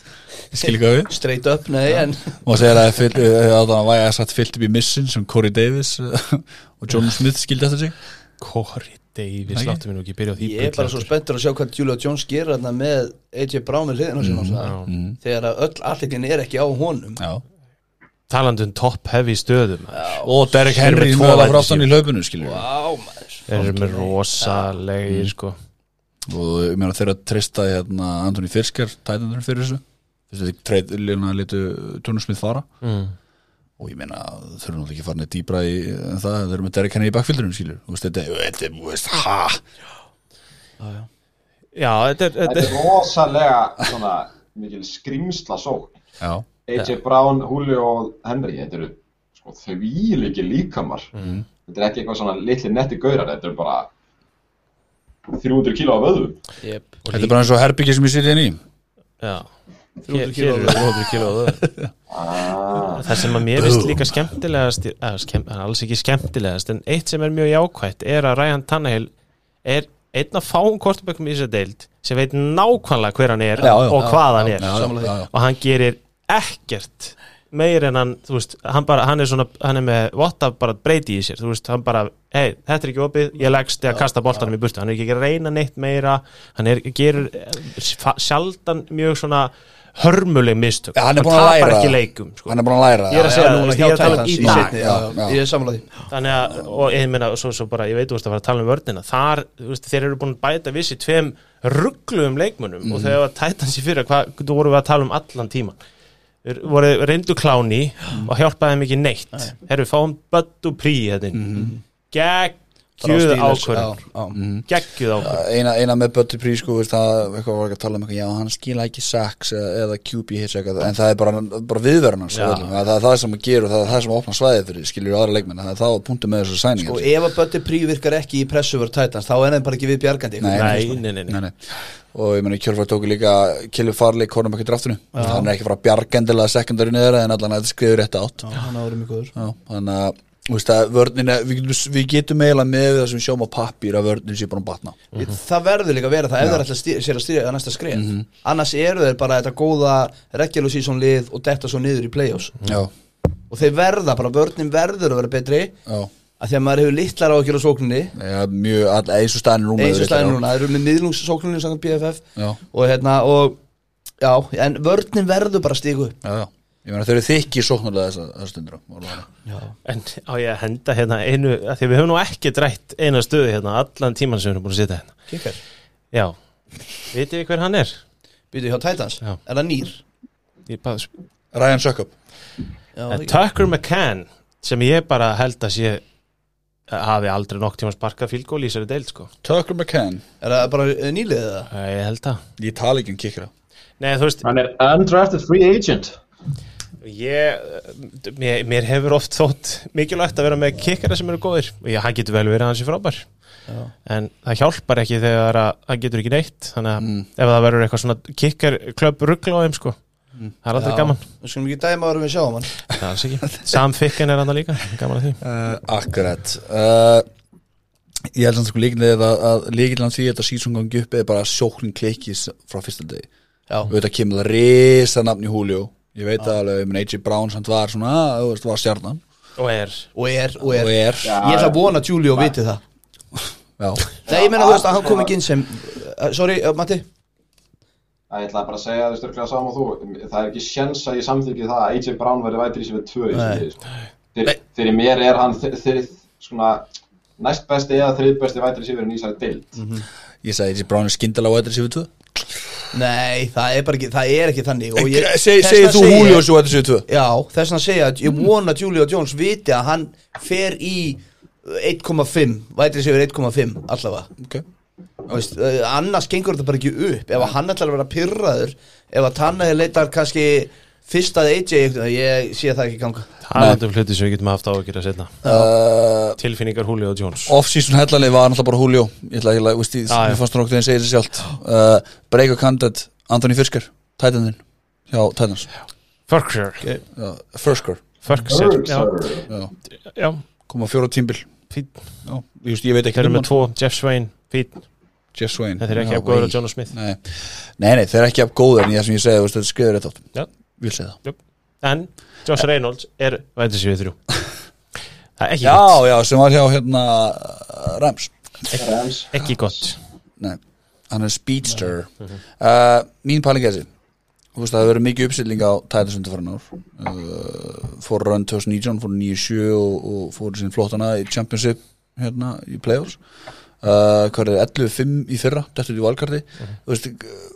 ég skil ekki að við
straight up, nei, en
og segir að fyll- eh, að það væri að satt fyllt upp í missin sem Corey Davis eh, (laughs) og John Smith skildi eftir sig
Corey Davis
Ekki?
láttu mig nú ekki byrja á því
ég er
bulli
bara svo
aftur.
spenntur að sjá hvað Julio Jones gerir þarna með AJ Brown við hliðina sinna
Já.
mm,
Mhm.
þegar að öll allegin er ekki á honum
já.
talandi um top heavy stöðum
og Derek Henry
Sem er tvö
móla
læti
fráttan í
síðan.
hlaupinu skilur við
Á, maður
þeir eru með rosalegir sko
og ég meina þeirra treysta hérna, Anthony Fisker, tætandurinn fyrir þessu þessi þeir treyð lína litu Tónusmið fara
mm.
og ég meina þau eru náttúrulega ekki farin að dýbra í en það, þau eru með Derek Henry í bakfildurinn skilur þú veist þetta, þetta, er, þú veist, ha
já, þetta er, þetta
Þetta
er
er rosalega svona mikil skrimsla sók
já,
AJ Brown, Julio og Henry þetta eru sko þvíliki líkamar
Mm.
þetta er ekki eitthvað svona litli netti gaurar, þetta eru bara 300 kíló af öðum
yep.
þetta er bara eins og herbyggi sem ég sitja inn í
já.
300
Hér,
kíló.
hér eru 300 kíló
ah,
það sem að mér finnst líka skemmtilegast eða, skemm, eða alls ekki skemmtilegast en eitt sem er mjög jákvætt er að Ryan Tannehill er einn af fáum kortbökkum í þessu deild sem veit nákvæmlega hver hann er
Já, já,
og
já,
hvað hann er
já, já, já, já.
og hann gerir ekkert meir en hann, þú veist, hann bara hann er svona, hann er með votta bara breyti í sér þú veist, hann bara, hei, þetta er ekki opið ég leggst eða kasta boltanum í burtu, hann er ekki að reyna neitt meira, hann er, gerur eh, fa- sjaldan mjög svona hörmuleg mistök,
Já, hann er búinn að
tapar
læra.
ekki leikum sko.
hann er búin að læra
Ég er að segja núna,
hjá
ég er að tala um
Titans
í
í
dag.
seinni,
Já,
já,
já.
ég er samanlega því
þannig að, og ég meina svo, svo bara, ég veit, þú veist að fara að tala um vörnina þar, þú veist, þeir eru búin að bæta vissi tveim ruggluðum leikmönnum og þegar var Titans í fyrra, hvað, þú voru við að tala um allan tíman, þeir voru reyndu kláni og hjálpaði þeim ekki neitt herru, fáum Böddu Prí hérna mm. geggjuð ákvörðun Mm.
ákvörð
geggjuð ákvörðun
eina, eina með Bötti Prís sko, veist, það eitthvað var ekki að tala um eitthvað já, hann skila ekki sex eða, eða QB hits eitthvað, en það er bara, bara viðverðan hans sko,
Já.
það, er- það er það sem að gera og það er það sem að opna svæðið fyrir skilur aðra leikmenn, það er það að punktum með þessu sæningar
og Sko,
Sko,
ef að Bötti Prí virkar ekki í pressuvör Titans þá er þeim bara ekki við bjargandi
Nei, sko.
nei, nei, nei, nei.
nei, nei. og ég meni kjölfæð tóku líka Kjellu Farley konum ekki draftinu hann er ekki frá bjargendilega sekundari niður en allan að þetta skriður rétt átt
Já, hann árum ykkur
Já, þannig að þú veist að vörnina, við, getum, við getum eiginlega með það sem sjáum á pappir að vörnin sé bara um batna
Það verður líka að vera það ef þeir ætla að stýra, sér að stýra það næsta skref
Mhm.
annars eru þeir bara þetta góða regular season lið og detta svo niður í play-offs
já,
og þeir verða, bara vörnin verður að vera betri
já,
að því að maður hefur litlar á að gera sókninni
já mjög, all, eins og staðin núna
eins og
auðvitað,
slæðin
já.
núna, þeir eru með miðlungssókninni samkvæmt BFF
já,
og hérna og já, en vörnin verður bara að stígu upp
já, já Ég meina þau eru þykki sóknulega þessar þessa stundur
en á ég að henda hérna einu, af því að við höfum nú ekki drætt eina stöðu hérna, allan tíman sem við erum búin að sitja hérna
Kikkar,
já, vitið þið hver hann er?
býtu hjá Titans,
Já.
er það nýr?
ég bara spyr
Ryan Sökkup
Já,
En
ekki.
Tucker McCann sem ég bara held að sé að hafi aldrei nokk tíma sparkað fílgól í þessari deild sko.
Tucker McCann,
er það bara eh, nýlið eða?
Eh, ég held að
ég tala ekki um kikkra
Nei, þú veist,
Hann er undrafted free agent
ég, eh, mér, mér hefur oft þótt mikilvægt að vera með kikkara sem eru góðir og ég, hann getur vel verið hansi frábær
Já.
en það hjálpar ekki þegar að, hann getur ekki neitt þannig að ef það verður eitthvað svona kikkarklöp ruggla á þeim sko það er aldrei (laughs) gaman
Við skulum ekki dæma árum við sjáum hann
Það er alls ekki. Sam Ficken er hann líka, gaman að því
Uh, akkurat uh, Ég held samt sko líkilega að, að líkilega því að þetta síðan gangi upp er bara að sjóknin klikkis frá fyrsta degi
Já.
Auðvitað kemur það risa nafn í Julio Ég veit það alveg, ég meina AJ Brown samt var svona, "Ah, þú veist, var stjarnan
og er
og er, og er,
Og er.
ég ætla að vona að Julio viti það
Já,
Nei, ég meina þú veist að hann kom ekki inn sem uh, Sorry, uh, Matti
Það ég ætlaði bara að segja þau styrklega sama og þú Það er ekki sjens að ég samþykki það að AJ Brown verði vætri sér við tvö í
Nei.
þessu liði, sko. fyrir, fyrir mér er hann þri, þri, svona næst besti eða þrið besti vætri sér í þessari dild
ég sagði þessi Brown er skyndilega á ætri sér við tvö
Nei, það er bara ekki, það er ekki þannig og ég-
Segir
þess
segi
vegna
þú
segi ég-
Julio svo ætri sér við tvö
Já, þess vegna segja að ég vona að Julio Jones viti að hann fer í 1,5, vætri sigur 1,5 allavega
okay.
Þú veist, eh, annars gengur þetta bara ekki upp ef að hann ætlar að vera pyrraður ef að Tannaði leitar kannski fyrst að AJ einhvern veginn, ég sé það ekki ganga
talandi um hluti sem við getum haft á að gera setna
uh,
tilfinningar Julio Jones
Off-season hellanlið var náttúrulega bara Julio Ég ætla ekki að, veist, ég,
Já, já.
mér fannst hún okkur þegar segir þessi sjálft uh, Breaker Candid, Anthony Fisker Titaninn, hjá Titans
Ferkser
uh, Fersker,
Ferkser já,
Bergsir.
já,
já
koma fjóra tímbil
fín
Já, ég, veist, ég veit ekki
þeir eru
um
með
hann.
tvo Jeff Swain fín
Jeff Swain
þeir eru ekki
Já,
að góður
nei.
að Jonas Smith
Nei, nei, nei þeir eru ekki að góður en ég sem ég segi, þú veist, þetta er skriður rétt átt
Já.
Vil segja það
en Josh Reynolds er vætið sér við þrjú það er ekki gott
Já, já, sem var hjá hérna uh, Rams
Rams
ekki gott
Nei, hann er speedster
Mhm.
uh, Mín pæling er þessi Þú veist, það hefur verið mikið uppstilling á Titans undanfarin ár uh, Fór run 2019, fór 9-7 og, og fór sín flottana í Championship hérna, í playoffs uh, Hvað er 11-5 í fyrra, þetta er í valkarti
Mhm.
Þú veist, uh,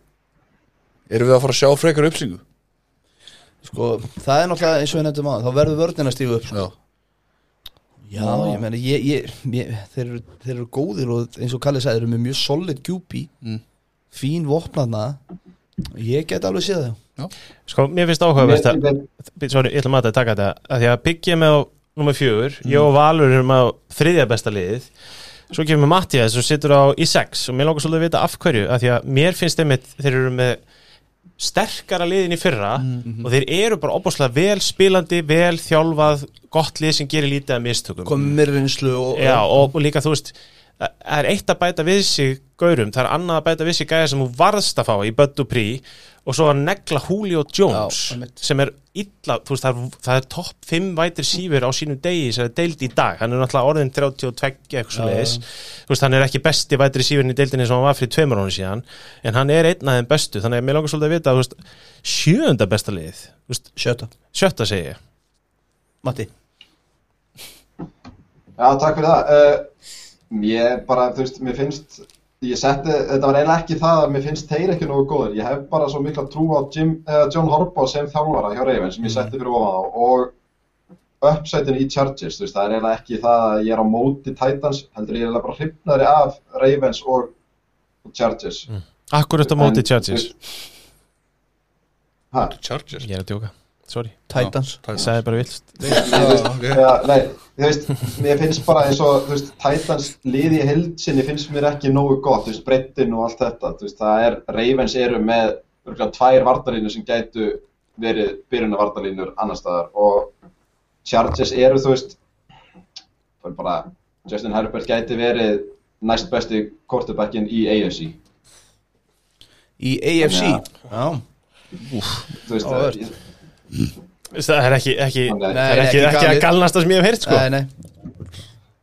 erum við að fara að sjá frekar uppstillingu?
sko, það er náttúrulega eins og við nefndum að þá verður vörnina stígu upp sko.
Já
já, ég meni, ég, ég, ég, þeir, eru, þeir eru góðir og eins og Kalli sagði, þeir eru með mjög solid gjúpi
Mm.
fín vopnaðna ég get alveg séð það
sko mér finnst áhugavert að Bíddu, sorry, ég ætla maður að taka þetta að því að byggja með á nummer fjögur ég og Valur erum á þriðja besta liðið svo kemur Mattias og situr á í sex og mér langar svolítið að vita af hverju að því að mér finnst einmitt þeir eru með sterkara liðin í fyrra og þeir eru bara opaslega vel spilandi vel þjálfað, gott lið sem gerir lítið af mistökum
komið mér reynslu og,
Já, og, og líka þú veist það það er eitt að bæta við sig gaurum það er annað að bæta við sig gæja sem þú varðst að fá í Böddu Prí og svo að negla Julio Jones
Já, einmitt.
sem er illa, þú veist það er, það er topp 5 vætir sífur á sínum degi sem er deild í dag, hann er náttúrulega orðin 32 eitthvað svo leiðis þú veist hann er ekki besti vætir sífurinn í deildinni sem hann var fyrir tveimur honum síðan en hann er einn af þeim bestu þannig að mér langar svolítið að vita þú veist, sjöunda besta lið þú veist,
sjötta,
sjötta segi ég
Matti
Já, takk fyrir það. Uh, ég bara, þú veist, mér finnst, ég setti, þetta var eiginlega ekki það að mér finnst þeir ekki nógu góðir. Ég hef bara svo mikla trú á Jim, uh, John Horbaugh sem þjálfara hjá Reyven sem ég setti fyrir ofan þá og uppsætin í Chargers, þú veist, það er eiginlega ekki það að ég er á móti Titans, heldur ég er eiginlega bara hrifnari af Ravens og, og Chargers.
Akkurat á
En,
móti Chargers
þú veist, Ha,
Chargers
Ég er að djóka, sorry
Titans
Ég sagði bara vilt
Já, nei, þú veist, mér finnst bara eins og, þú veist, Titans liði í held sinni finnst mér ekki nógu gott, þú veist, breyttin og allt þetta, þú veist, það er, Ravens eru með örgulega tvær vartalínu sem gætu verið byrjuna vartalínur annar staðar og Chargers eru, þú veist, það er bara, Justin Herbert gæti verið næst besti kortebækin í AFC,
í AFC
Já.
já.
þú veist,
Áhugavert.
það,
Það er ekki, ekki,
Nei,
það er ekki,
ekki
ekki að
galið.
galnast það sem ég hef heyrt sko
Nei, nei.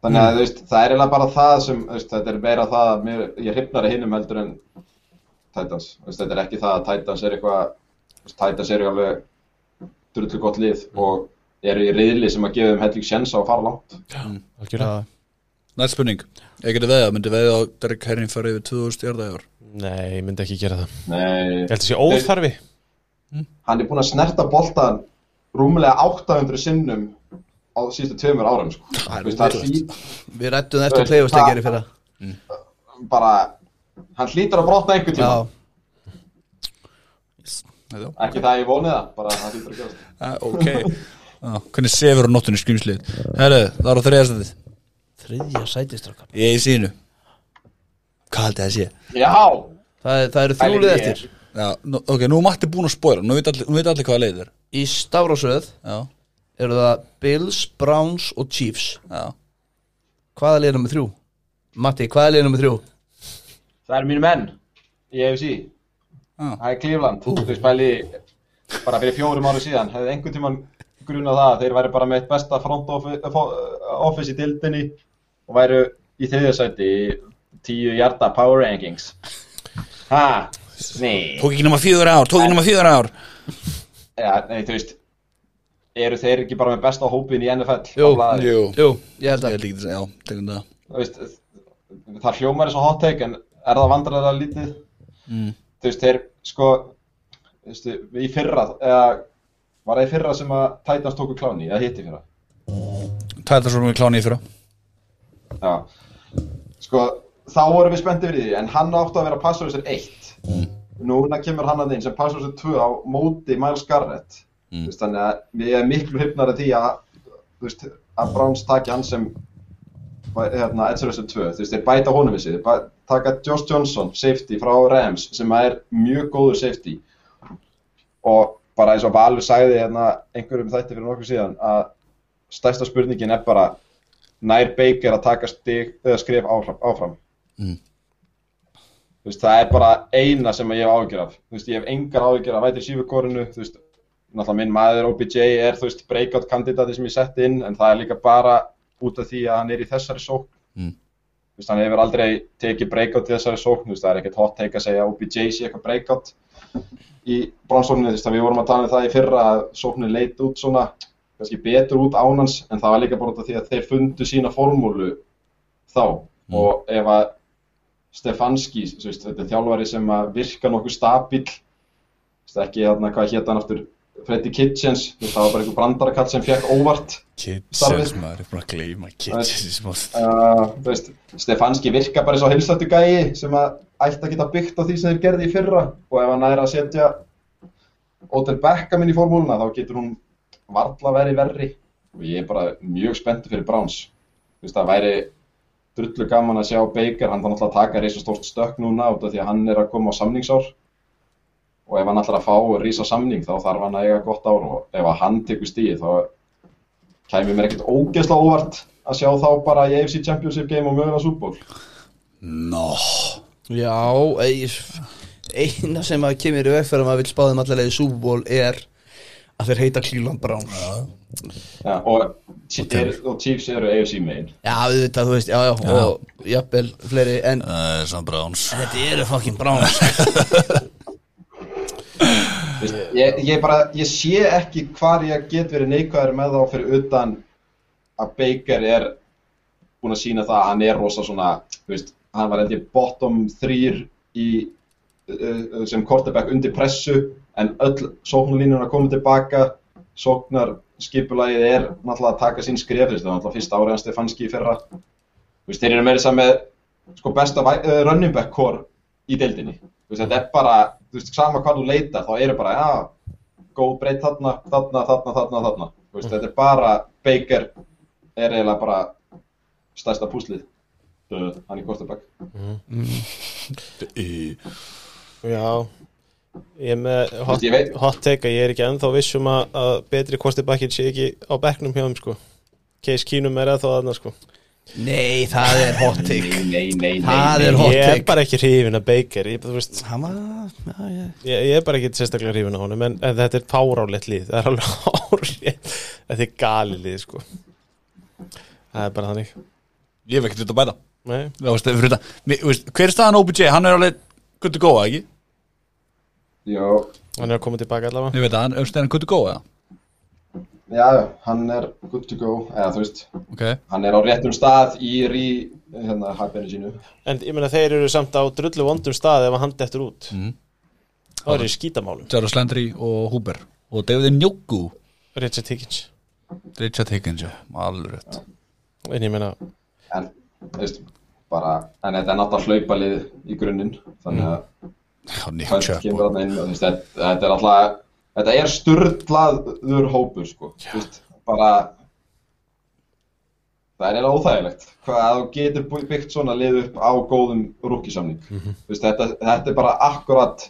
Þannig
Mm.
að þú veist, það er eiginlega bara það sem, þú veist, þetta er meira það að mér, ég hrifnar að hinum heldur en Titans. Þú veist, þetta er ekki það að Titans er eitthvað, þú veist, Titans eru alveg drullu gott lið
Mm.
og eru í riðli sem að gefa þeim helling sjens á að fara langt.
Algjörlega.
Næst spurning, ég geti veðið að myndi veðið á Derek Herring farið yfir 2000 jarða í ár
Nei, ég myndi ekki gera það Ég
Nei,
held að sé óþarfi
hann er búinn að snerta boltan rúmlega 800 sinnum á síðustu tveimur árum, sko.
Það er
Þú veist, það er
ótrúlegt.
fí-
Við rættum það eftir playofstekjari fyrir það
bara, hann hlýtur að brotna einhvern tíma.
Já,
Ekki það að ég vonið það, bara hann hlýtur að gerast.
uh, Ok ah, Hvernig sefur á nóttunni skrimslið Herru, það er á þriðastæðið
þriðja sætistrakar
Ég er í sínu Hvað haldið það sé?
Já!
Það, er- það eru þrjúlið eftir
Já, nú, ok, nú er Matti búin að spoila Nú veit allir, nú veit allir hvaða leið er
Í Stárásöð
Já,
eru það Bills, Browns og Chiefs
já
Hvaða liðið nummer þrjú? Matti, hvaða liðið nummer þrjú?
Það eru mínu menn í AFC
Ah.
Það er Cleveland Þú veist bæli bara fyrir fjórum ára síðan hefði einhvern tíman gruna það að þeir væri bara með eitt besta front office, office í dildinni og væru í þriðjasæti í tíu hjarta power rankings ha, nei
Tók ekki nema fjögur ár, tók ekki nema fjögur ár
ja, nei, þú veist eru þeir ekki bara með besta hópin í NFL
Jú,
á blaði?
Jú,
Jú, ég held
ég
að
held ekki þess að, já, tekum það
Þú veist, það hljómar er svo hot take en er það vandræðilega lítið
Mm.
þú veist, þeir sko þú veist, í fyrra eða, var það í fyrra sem að Titans tóku kláni, eða hitti fyrra
Tæta svo mjög kláni í fyrra
Já, sko, þá vorum við spenntið fyrir því, en hann átti að vera passúrsir 1. Núna kemur hann að inn sem passúrsir 2 á móti Miles Garrett. Mm. Veist, þannig að við erum miklu hyfnari því að, þú veist, að Browns taki hann sem hérna, Edgerusum 2. Þú veist, þeir bæta honum við sig. Þeir bæ- taka Josh Johnson, safety frá Rams, sem er mjög góður safety. Og bara eins og Valur sagði hérna einhverjum þætti fyrir nokkuð síðan að stærsta spurningin er bara nær Baker að taka stig, eða skrif áfram, áfram.
Mm.
Þú veist, það er bara eina sem ég hef áhyggjur af Þú veist, ég hef engar áhyggjur af vætri sífukorinu þú veist, náttúrulega minn maður OBJ er þú veist, breakout kandidati sem ég setti inn en það er líka bara út af því að hann er í þessari sókn
Mm.
Þú veist, hann hefur aldrei tekið breakout í þessari sókn Þú veist, það er ekkert hot take að segja að OBJ sé eitthvað breakout í bronsókninni, þú veist, að við vorum að tala um það í fyrra að sóknin leit út svona kannski betur út ánans en það var líka bara út af því að þeir fundu sína formúlu þá og ef að Stefanski, þú veist, þetta er þjálfari sem að virka nokkuð stabil þú veist, ekki hérna, hvað hétt hann aftur Freddy Kitchens, þú veist, það var bara einhver brandarakall sem fekk óvart
Kidsins
Starfið.
maður, ég er búin að gleyma Kidsins maður
uh, þú veist, Stefanski virka bara eins og heilsættu gæi sem að ætti að geta byggt á því sem þeir gerði í fyrra og ef hann er að setja Odell Beckham inn í formúluna þá getur hún varla verið verri og ég er bara mjög spenntu fyrir Browns þú veist, það væri drullu gaman að sjá Baker, hann þarf náttúrulega að taka reisa stórt stökk núna út af því að hann er að koma á samningsár og ef hann ætlar að fá rísa samning þá þarf hann að eiga gott ár og ef að hann tekur stíð þá kæmi mér ekkert ógeðslega óvart að sjá þá bara í AFC Championship game og mögulega Super Bowl
Nó,
Já, ég, eina sem að kemur í veg fyrir að maður vil spáðum allavega í Super Bowl er að þeir heita Cleveland Browns Já,
ja, og, er, og Chiefs eru AFC main
auðvitað, þú veist, já, já, og jafnvel fleiri, en
það er samt Eh, Browns
þetta eru fucking Browns
Vist, ég, ég, bara, ég sé ekki hvar ég get verið neikvæður með þá fyrir utan að Baker er búin að sína það að hann er rosa svona þú veist, hann var heldur bottom 3 í, uh, sem quarterback undir pressu en öll sóknarlínuna komið tilbaka sóknar skipulagið er náttúrulega að taka sín skref þú veist, það var náttúrulega fyrsta árið hann Stefanski í fyrra Þú veist, þeir eru meira saman með sko, besta væ- eh, running back core í deildinni Þú veist, þetta er bara, þú veist, sama hvað þú leitar þá eru bara, já, góð breytt þarna, þarna, þarna, þarna, þarna Þú veist, þetta er bara, Baker er eiginlega bara stærsta púslið Duh, hann í Kortabæk
Í-
Já Ég er með hot,
Ég veit-
hot take að ég er ekki ennþá viss um að, að betri kostibakkin sé ekki á bekknum hjá þeim sko Case Keenum er eða þá aðna sko
Nei, það er hot take
nei, nei,
Það er hot
Ég er
take
bara ekki hrifin að Baker ég, þú veist,
Hann var- já, já.
ég, ég er bara ekki sérstaklega hrifin að honum en, en þetta er fárálegt líð Það er alveg (laughs) árið Þetta er gali líð sko Það er bara þannig
Ég hef ekkert þetta að bæta
Nei,
Þú veist, fyrir þetta- mér- þú veist, Hver er staðan OBJ, hann er alveg Good to go, eða ekki?
Jó,
hann er að koma tilbaka allavega
Ég veit að hann, er hann good to go, eða?
já, hann er good to go, eða þú veist
Ok,
hann er á réttum stað í rí hérna, hæpinu sínu
En ég meina þeir eru samt á drullu vondum stað ef að hann dettur út
Mm.
Það eru í skítamálum
Jarvis Landry og Huber Og David Njoku
Richard Higgins
Richard Higgins, já, alveg rétt
En ég meina
en, þú veist, bara en þetta er náttúrulega hlaupalið í grunninn þannig að
Já, Nick
Hunt
Chubb
kemur þarna inn og þú veist, þetta, þetta er alltaf þetta er sturdlaður hópur sko, þú veist, bara það er eiginlega óþægilegt hvað að þú getur bú- byggt svona lið upp á góðum rúkisamning þú veist, þetta, þetta er bara akkurat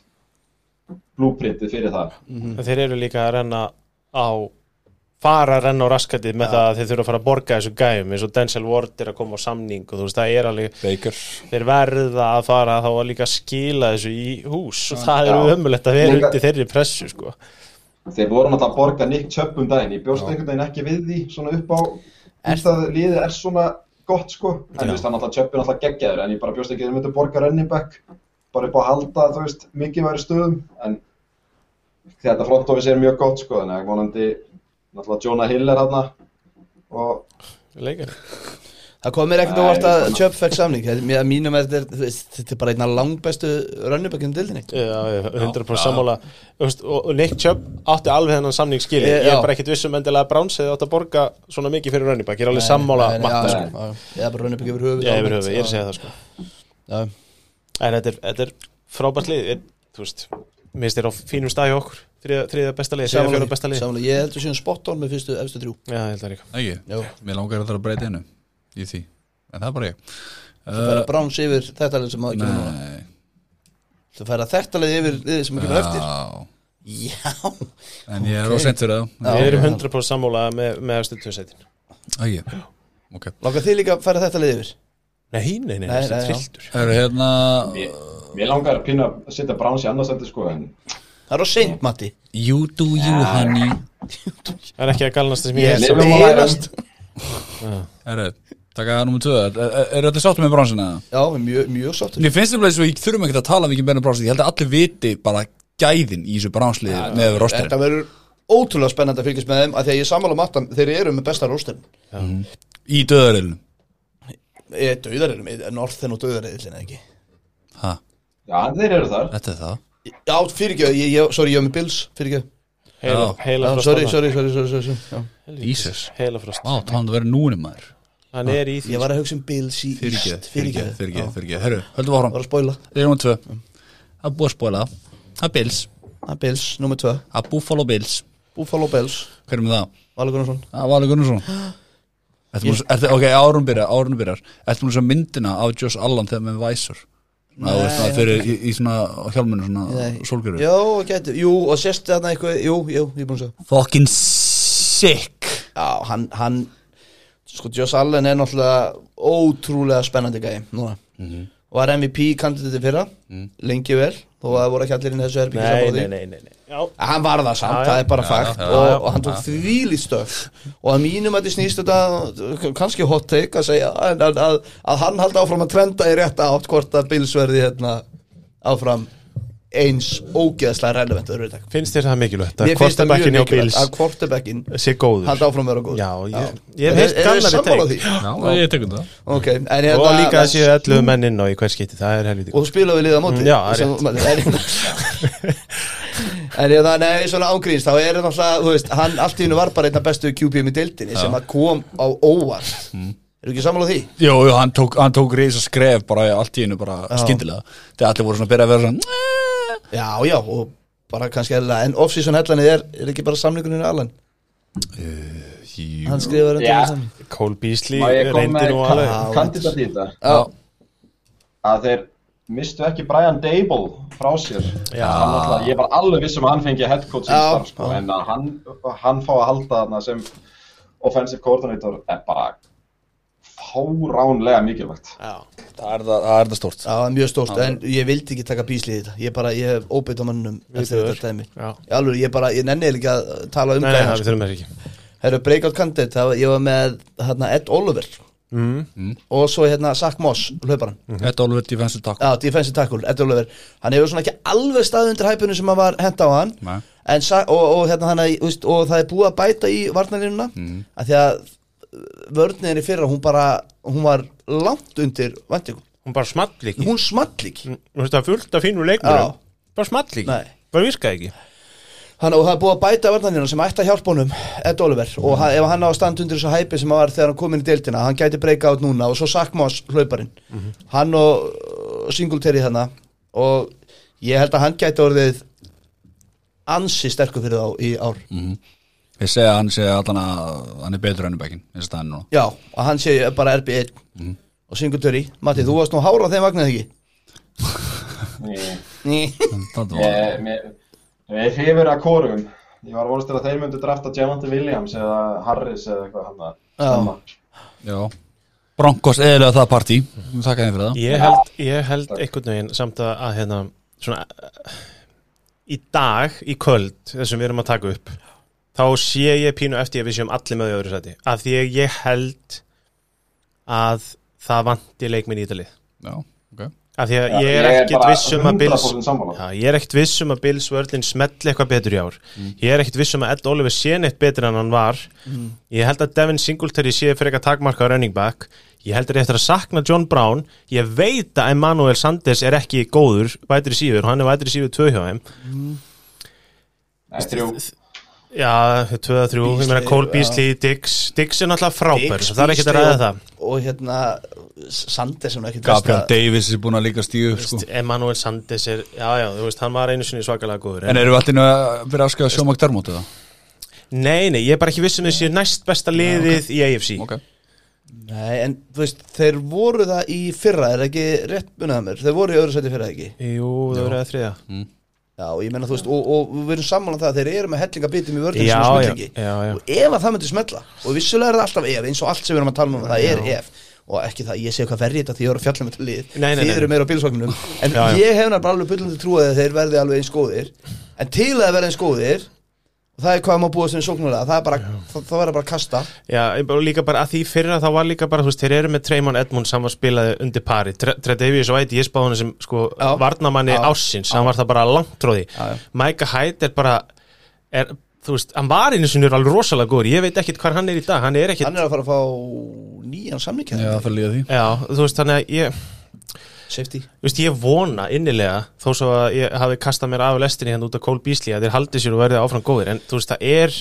blúprintið fyrir það
En þeir eru líka að renna á fara að renna á raskatið með það að þeir þurfa að fara að borga þessu gæjum eins og Denzel Ward er að koma á samning og þú veist það er alveg
Baker
þeir verða að fara þá að líka skila þessu í hús og það eru
Já.
ömulegt að vera
Líka-
undir þeirri pressu sko.
Þeir voru náttúrulega að borga Nick Chubb um daginn, ég bjóst einhvern veginn ekki við því svona upp á út að liðið er svona gott sko, en þú veist hann alltaf Chubb er alltaf geggjaður en ég bara bjóst ekki að þeir myndu borga running back bara upp á að halda þú veist mikið væri stöðum en þetta front office er mjög gott sko þannig að vonandi náttúrulega Jonah Hill er hann og
leikar
Það kom mér ekkert
Nei,
óvart að
svona.
Chubb fekk samning Það er mér- að mínum að þetta er, þú veist, þetta er bara einna langbæstu rönnubækjum dildinni
Já, já, 100% sammála Þú veist, og og Nick Chubb átti alveg hennan samning skili
Eh,
ég
já.
er bara ekkit vissum endilega að Browns hefði átt að borga svona mikið fyrir running back, ég er alveg sammála matta, sko.
Ég er bara rönnubækjum yfir höfuð
Já, yfir höfuð, ég er að segja það sko
það
En þetta er, þetta er frábært lið ég, Þú veist, minnst þér á fínum stað hjá okkur þriða, þriða besta lið, þriða fjóra besta lið Já,
Samanlega, ég heldur síðan spot on með fyrstu efstu þrjú
ég held það líka
Ekki,
Jú.
mér langar alltaf að breyta einu í því, en það er bara ég
Það
Uh,
færa Browns yfir þetta lið sem að kemur núna
Nei,
Það færa þetta lið yfir liðið sem að kemur eftir
já,
Já,
en ég er ósent fyrir það
Við erum 100% sammála með, með efstu tvö setin
Ekki, ok
langar þið líka að færa þetta lið yfir
Nei, nei, nei,
Nei,
þetta
nei,
er
já.
trilltur
Það eru hérna
Mér mér langar að pína að setja Browns í annarsætti sko en
Það er á seint, Matti
You do you honey
Það er ekki að galnast það sem ég
Yes.
er
lifum og lærum.
Herru, taka það nummer 2 Eru allir sáttum með bránsina?
Já, við erum mjög, mjög sáttur
Mér finnst það bara svo, ég þurfum ekkert að tala mikið meira um bránsið Ég held að allir viti bara gæðin í þessu bránsliði með rostir
Þetta verður ótrúlega spennandi að fylgjast með þeim að því að ég er sammála matan, þeir eru með besta rósturinn
Í döðarilunum
Ég eh, er döðarilum, norðin og döðarilin ekki
Ha,
já þeir eru þar
þetta er það
Já, fyrirgjöð, ég, ég, sorry, ég var með Bills, fyrirgjöð
Heila,
Já.
heila
Sorry, sorry, sorry, sorry, sorry, sorry. Já.
Jesus.
Heila frost
Vá, það hann að vera núni maður
Hann er í því
Ég var að hugsa um Bills í
Fyrirgeð,
Íst
fyrirgeð, fyrirgeð,
Já,
fyrirgeð Herru, höldum áfram
Var að spóla
Þeir eru um tvö Það er búið að spóla það. Það er Bills
Það er Bills, nummer 2
Það er Buffalo Bills
Buffalo Bills,
Hver er með það?
Valur Gunnarsson
Það er Valur Gunnarsson Ertu búin að- ertu- Ok, árun byrjar, árun byrjar Ertu múin að sjá myndina af Josh Allan þegar með Visor Ná, þú veist það fyrir í, í svona á hjálminu svona sólgjöru
Jó, gæti, jú, og sérst þarna eitthvað Jú, jú, ég er búin að segja
Fucking sick
Já, hann, hann Sko, Joss Allen er náttúrulega ótrúlega spennandi gæði núna Var MVP kandidati fyrra Lengi vel, þó að það voru ekki allir inn í þessu herbyggi
Nei, nei, nei, nei, nei. Já,
Að Hann var það samt,
Já, já.
það er bara fakt
já,
og,
já.
og hann tók þvílið stöf og að mínum að þið snýst þetta kannski hot take að segja að, að, að, að hann haldi áfram að trenda í rétta átt hvort að Bills verði hérna áfram eins ógeðslega relevant öðru dag
finnst þér það mikilvægt að
Mér finnst það mjög
quarterbackin hjá
mikilvægt
Bills
að quarterbackin
sé góður
haldi áfram að vera góð
Já, ég, ég hef
Er-
heilt
er-
gamla
er sammála því?
Já, ég tekum það
Ok, en
Og
hérna-
líka að séu 11 menn inn á í hver skiti, það er helviti
og þú spilaðu við liða á móti
Mm, já, það er
Sem- (laughs) en ég það, nei, svona ángríns þá er það náttúrulega, þú veist, hann allt í hennu var bara einna bestu QPM í deildinni sem að kom á óvart eru ekki sammála því?
Jú, jú, hann tók, hann tók reysa skref bara í allt í einu bara skyndilega Þegar allir voru svona að byrja að vera svona "Neee."
já, já, og bara kannski eðla en off-season hellanið er, er ekki bara samlinguninu Allen
Jú.
hann skrifar undir
Já.
með samning
Cole Beasley
Má ég kom
reyndi
með
nú
kan-
alveg
alveg.
kandidat í þetta
Já.
að þeir mistu ekki Brian Dable frá sér
Já.
Hann alltaf, ég var alveg viss um að hann fengi head coach í
Já,
starf sko, en að hann, hann fá að halda þarna sem offensive coordinator er bara fáránlega mikilvægt
Það er það, það er það stórt
Já, það er mjög stórt, en ég vildi ekki taka bíslið í þetta Ég bara, ég hef óbeitt á mannum eftir
Viðbjóður.
þetta dæmi
Já.
Í alvöru, ég bara, ég nenni eiginlega ekki að tala um
Nei,
gæjann,
nei,
sko.
við þurfum þess ekki
Herru, breakout candidate, það var, ég var með hérna, Ed Oliver og svo hérna Zach Moss, hlauparan
Þetta Oliver Defensive Tackle
Já, defensive tackle, Ed Oliver Hann hefur svona ekki alveg staðið undir hæpunum sem hann var hent á hann
Nei.
en, Sa- og, og, hérna, hana, veist, og það er búið að bæta í varnarlínuna mm. að því að vörninni fyrra, hún bara hún var langt undir vendingum
Hún bara small ekki
Hún small ekki
Þú veist það er fullt af fínum
Já.
leikmurum Bara small ekki,
Nei.
bara virkaði ekki
Hann, og það er búið að bæta varnarlínuna sem ætti að hjálpa honum Ed Oliver
Mhm.
og hann, ef hann á að standa undir þessu hæpi sem hann var þegar hann kom inn í deildina hann gæti breyka át núna og svo Sakmos hlauparinn
Mhm.
hann og uh, Singletary þarna og ég held að hann gæti orðið ansi sterkur fyrir þá í ár
Mhm.
Ég segi að hann segi allan að hann er betur ennubækin eins og það er núna
já, og hann sé bara RB1
Mhm.
og Singletary, Matti, þú varst nú hára á þeim vagnað ekki?
Ég-
Ný
Það var
Eh.
ég- mér- Ég hrifur að kórum ég var að vonast til að þeir myndu drafta Javante Williams eða Harris eða eitthvað hann að snemma.
Já Broncos eðilega það partí Þakka þeim fyrir það
Ég held, ég held einhvern veginn samt að, að hérna, svona, í dag, í kvöld, þessum við erum að taka upp þá sé ég pínu eftir að við séum allir með í öðru sæti af því að ég held að það vanti leikminn í Ítalið
Já, ok
af því að ég
Já,
er
ég er
ekkert
bara
viss um að Bills
100% sammála.
Já, ég er ekkert viss um að Bills vörlinn smetli eitthvað betur í ár ég er ekkert viss um að Ed Oliver sé neitt betur en hann var ég held að Devin Singletary sé fyrir eitthvað takmarka running back ég held að ég eftir að sakna John Brown ég veit að Emmanuel Sanders er ekki góður vætri síður, hann er vætri síður tvö hjá þeim
Nei, þrjú.
já, tvö að þrjú, ég meina
Beasley,
Cole
já.
Beasley, Dix Dix er náttúrulega frábær,
Diggs,
það er ekkert að
Beasley
ræða
og-
það
og hérna Sanders er nú ekkert
Gabriel
besta-
Davis er búin að líka stíu upp, sko.
Emmanuel Sanders er, já, já, þú veist, hann var einu sinni svakalega góður
En eru við allir að vera að skjáða sjómak dermót eða?
Nei, nei, ég er bara ekki viss um þessi næst besta liðið í AFC
Ok
Nei, en þú veist, þeir voru það í fyrra, er það ekki rétt munið að mér? Þeir voru í öðru sæti fyrra ekki?
Jú, það verður að þriða
Já, og ég meina, þú veist, og, og við erum sammálan það að þeir eru með hellingabitum í vörðinu
Já,
sem
já,
smullingi.
já, já.
Og ef að það myndi smella, og vissulega er það alltaf ef, eins og allt sem við erum að tala um, það er ef. Og ekki það, ég sé eitthvað verrið þetta því ég voru að fjalla með þetta lið.
Nei, nei,
Þið
nei,
eru
nei.
meira
(laughs)
á bílsvagnum. En
Já, já.
ég hef náttúrulega alveg byllandi trúið að þeir verði alveg eins góðir. En til að verði eins góðir, og það er hvað maður búið sem sóknulega, það er bara, það, það verður bara að kasta.
Já, ég bara- líka bara að því fyrra þá var líka bara, þú veist, þeir eru með Treymon Edmunds hann var spilaði undir pari, Tre Tre Davies og Æti ég spáði hann sem, sko,
Já.
varnamanni
Já.
ársins, hann var það bara langtróði
Já, já.
Micah Hyde er bara er, þú veist, hann var einu sinni alveg rosalega góður, ég veit ekkit hvar hann er í dag hann er ekkit,
Hann er að fara að fá nýjan samning
Já,
hérna.
það fyrir líka því
já, þú veist, þannig að ég
Safety.
Þú veist, ég vona innilega þó svo að ég hafi kastað mér af lestinni hérna út af Cole Beasley að þeir haldið sér og verðið áfram góðir en þú veist, það er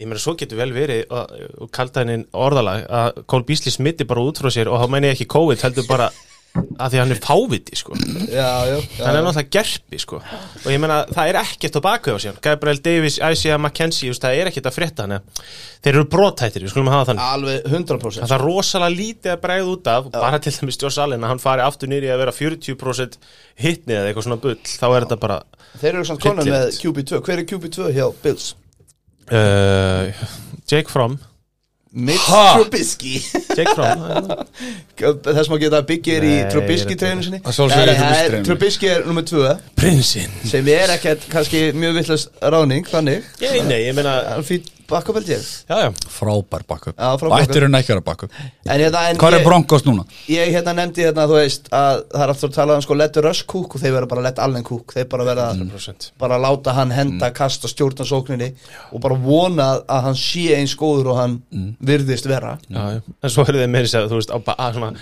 ég meina, svo getur vel verið og, og kalda hennin orðalag að Cole Beasley smitti bara út frá sér og þá meina ég ekki COVID heldur bara að því að hann er fáviti sko. hann
Já, já, já,
er náttúrulega gerpi sko. og ég meina, það er ekkert á baku á sér Gabriel Davis, Isaiah McKenzie þú veist, það er ekkert að frétta hann þeir eru brotættir, við skulum hafa þannig
Alveg 100%
Það er rosalega lítið að bregða út af bara til dæmis Joss Allen að hann fari aftur nýri að vera 40% hitni eða eitthvað svona bull þá er þetta bara
Þeir eru samt konar með
Hryllilegt.
QB2 Hver er QB2 hjá Bills?
uh, Jake Fromm
Mitch
Ha?
Trubisky (laughs)
Jake Fromm (laughs) það er nú.
Þess maður geta að byggja er í
Nei, ég
Trubisky
er
treinu sinni
Að sjálfsögðu er
Nei,
Trubisky
það er-
treyjunni.
Trubisky er nummer 2
Prinsinn
sem er ekkert kannski mjög villast ráning þannig
Ég, nei, ég meina
Það er fýtt bakka held ég
Já, já
Frábær bakku
Já, frábær
Ættir henni ekki að vera bakku
En, hérna, en
Hvað er
ég,
Broncos núna?
ég hérna nefndi hérna þú veist að það er aftur að tala um sko Lettu Rush kúk og þeir vera bara Lett Allen kúk þeir bara vera
Mm.
100%
bara láta hann henda, kasta stjórna sókninni og bara vona að hann sé eins góður og hann
Mm.
virðist vera
Já, já En svo eru þeir meiri sér þú veist á bara að svona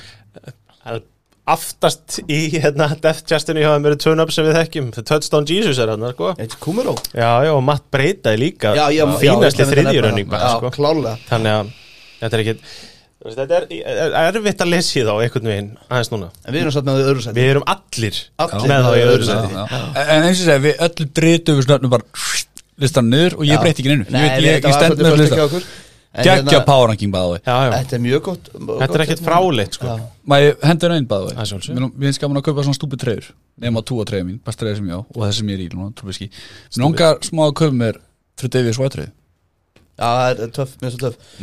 að aftast í hérna Death Justinu hjá þeim eru tune-up sem við þekkjum The Touchdown Jesus er hann sko
Eitt Kumuro
Já, já og Matt Breida er líka
já, já,
fínasti
já,
þriðjurönning
já, sko. klálega
þannig að þetta er ekki þú veist, þetta er, er er erfitt að lesa í þá einhvern veginn aðeins núna
en við erum satt með þau öðru sæti
við erum allir,
Allir
með þá í öðru
Já,
Já,
seti
já. En eins og segja, við öll dritu við snöfnum bara listan niður og ég breyti ekki neinu Ég, veit- ég, ég stend með listan Gekkja power ranking bæði
já, já.
hérna, þetta er mjög gott hérna.
þetta er ekkert fráleitt sko.
Mæ, hendur einn bæði
Að sjálfsögðu.
Mér mér finnst gaman að kaupa svona stúpi treyður Nefn að túa treyður mín, best treyður sem ég á Og þessi sem ég er í núna, trúbiski Mér langar smá að kaupa mér Frú Davies White treyðu
já, það er töff, mjög svo töff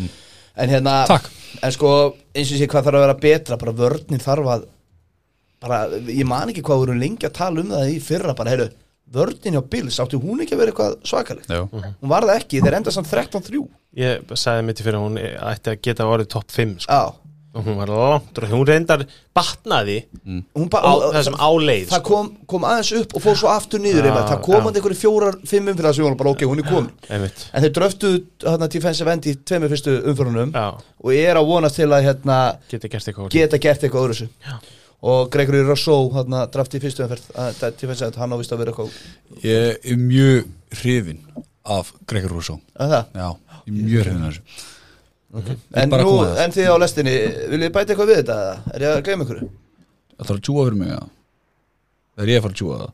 en hérna
Mm. Takk.
en sko eins og sé hvað þarf að vera betra bara vörnin þarf að bara ég man ekki hvað við erum lengi að tala um það í fyrra bara heyru vörnin hjá Bills átti hún ekki að vera eitthvað svakaleg
Já,
hún var það ekki þeir enda samt 13-3
ég sagði mitt í fyrir að hún ætti að geta orðið topp 5 sko.
já
og hún var langt og hún reyndar batnaði
hún bara
á þessum áleið
það
sko.
kom, kom aðeins upp og fór svo aftur
Já,
niður ja, það
já.
kom að einhverju fjórar, fimm umfyrir sem hún var bara ok, hún er komin
einmitt
en þeir dröftuðu hérna, defensive end í tveimur fyrstu umfyrunum
Já.
og ég er að vonast til að hérna,
geti gert eitthvað Get.
geta gert eitthvað öðru þessu og Gregory Rousseau hérna, drafti í fyrstu umferð að- að defensive end, hann á vist að vera eitthvað
ég er mjög hrifin af Gregor Rousseau
að það.
Já, ég er mjög hrifin af þessu Ég er
en,
bara að
nú,
koma að það.
en þið á lestinni, viljið þið bæta eitthvað við þetta eða? er ég að gleyma einhverju?
Það þarf að tjúa fyrir mig eða? Það er ég að fara að tjúa það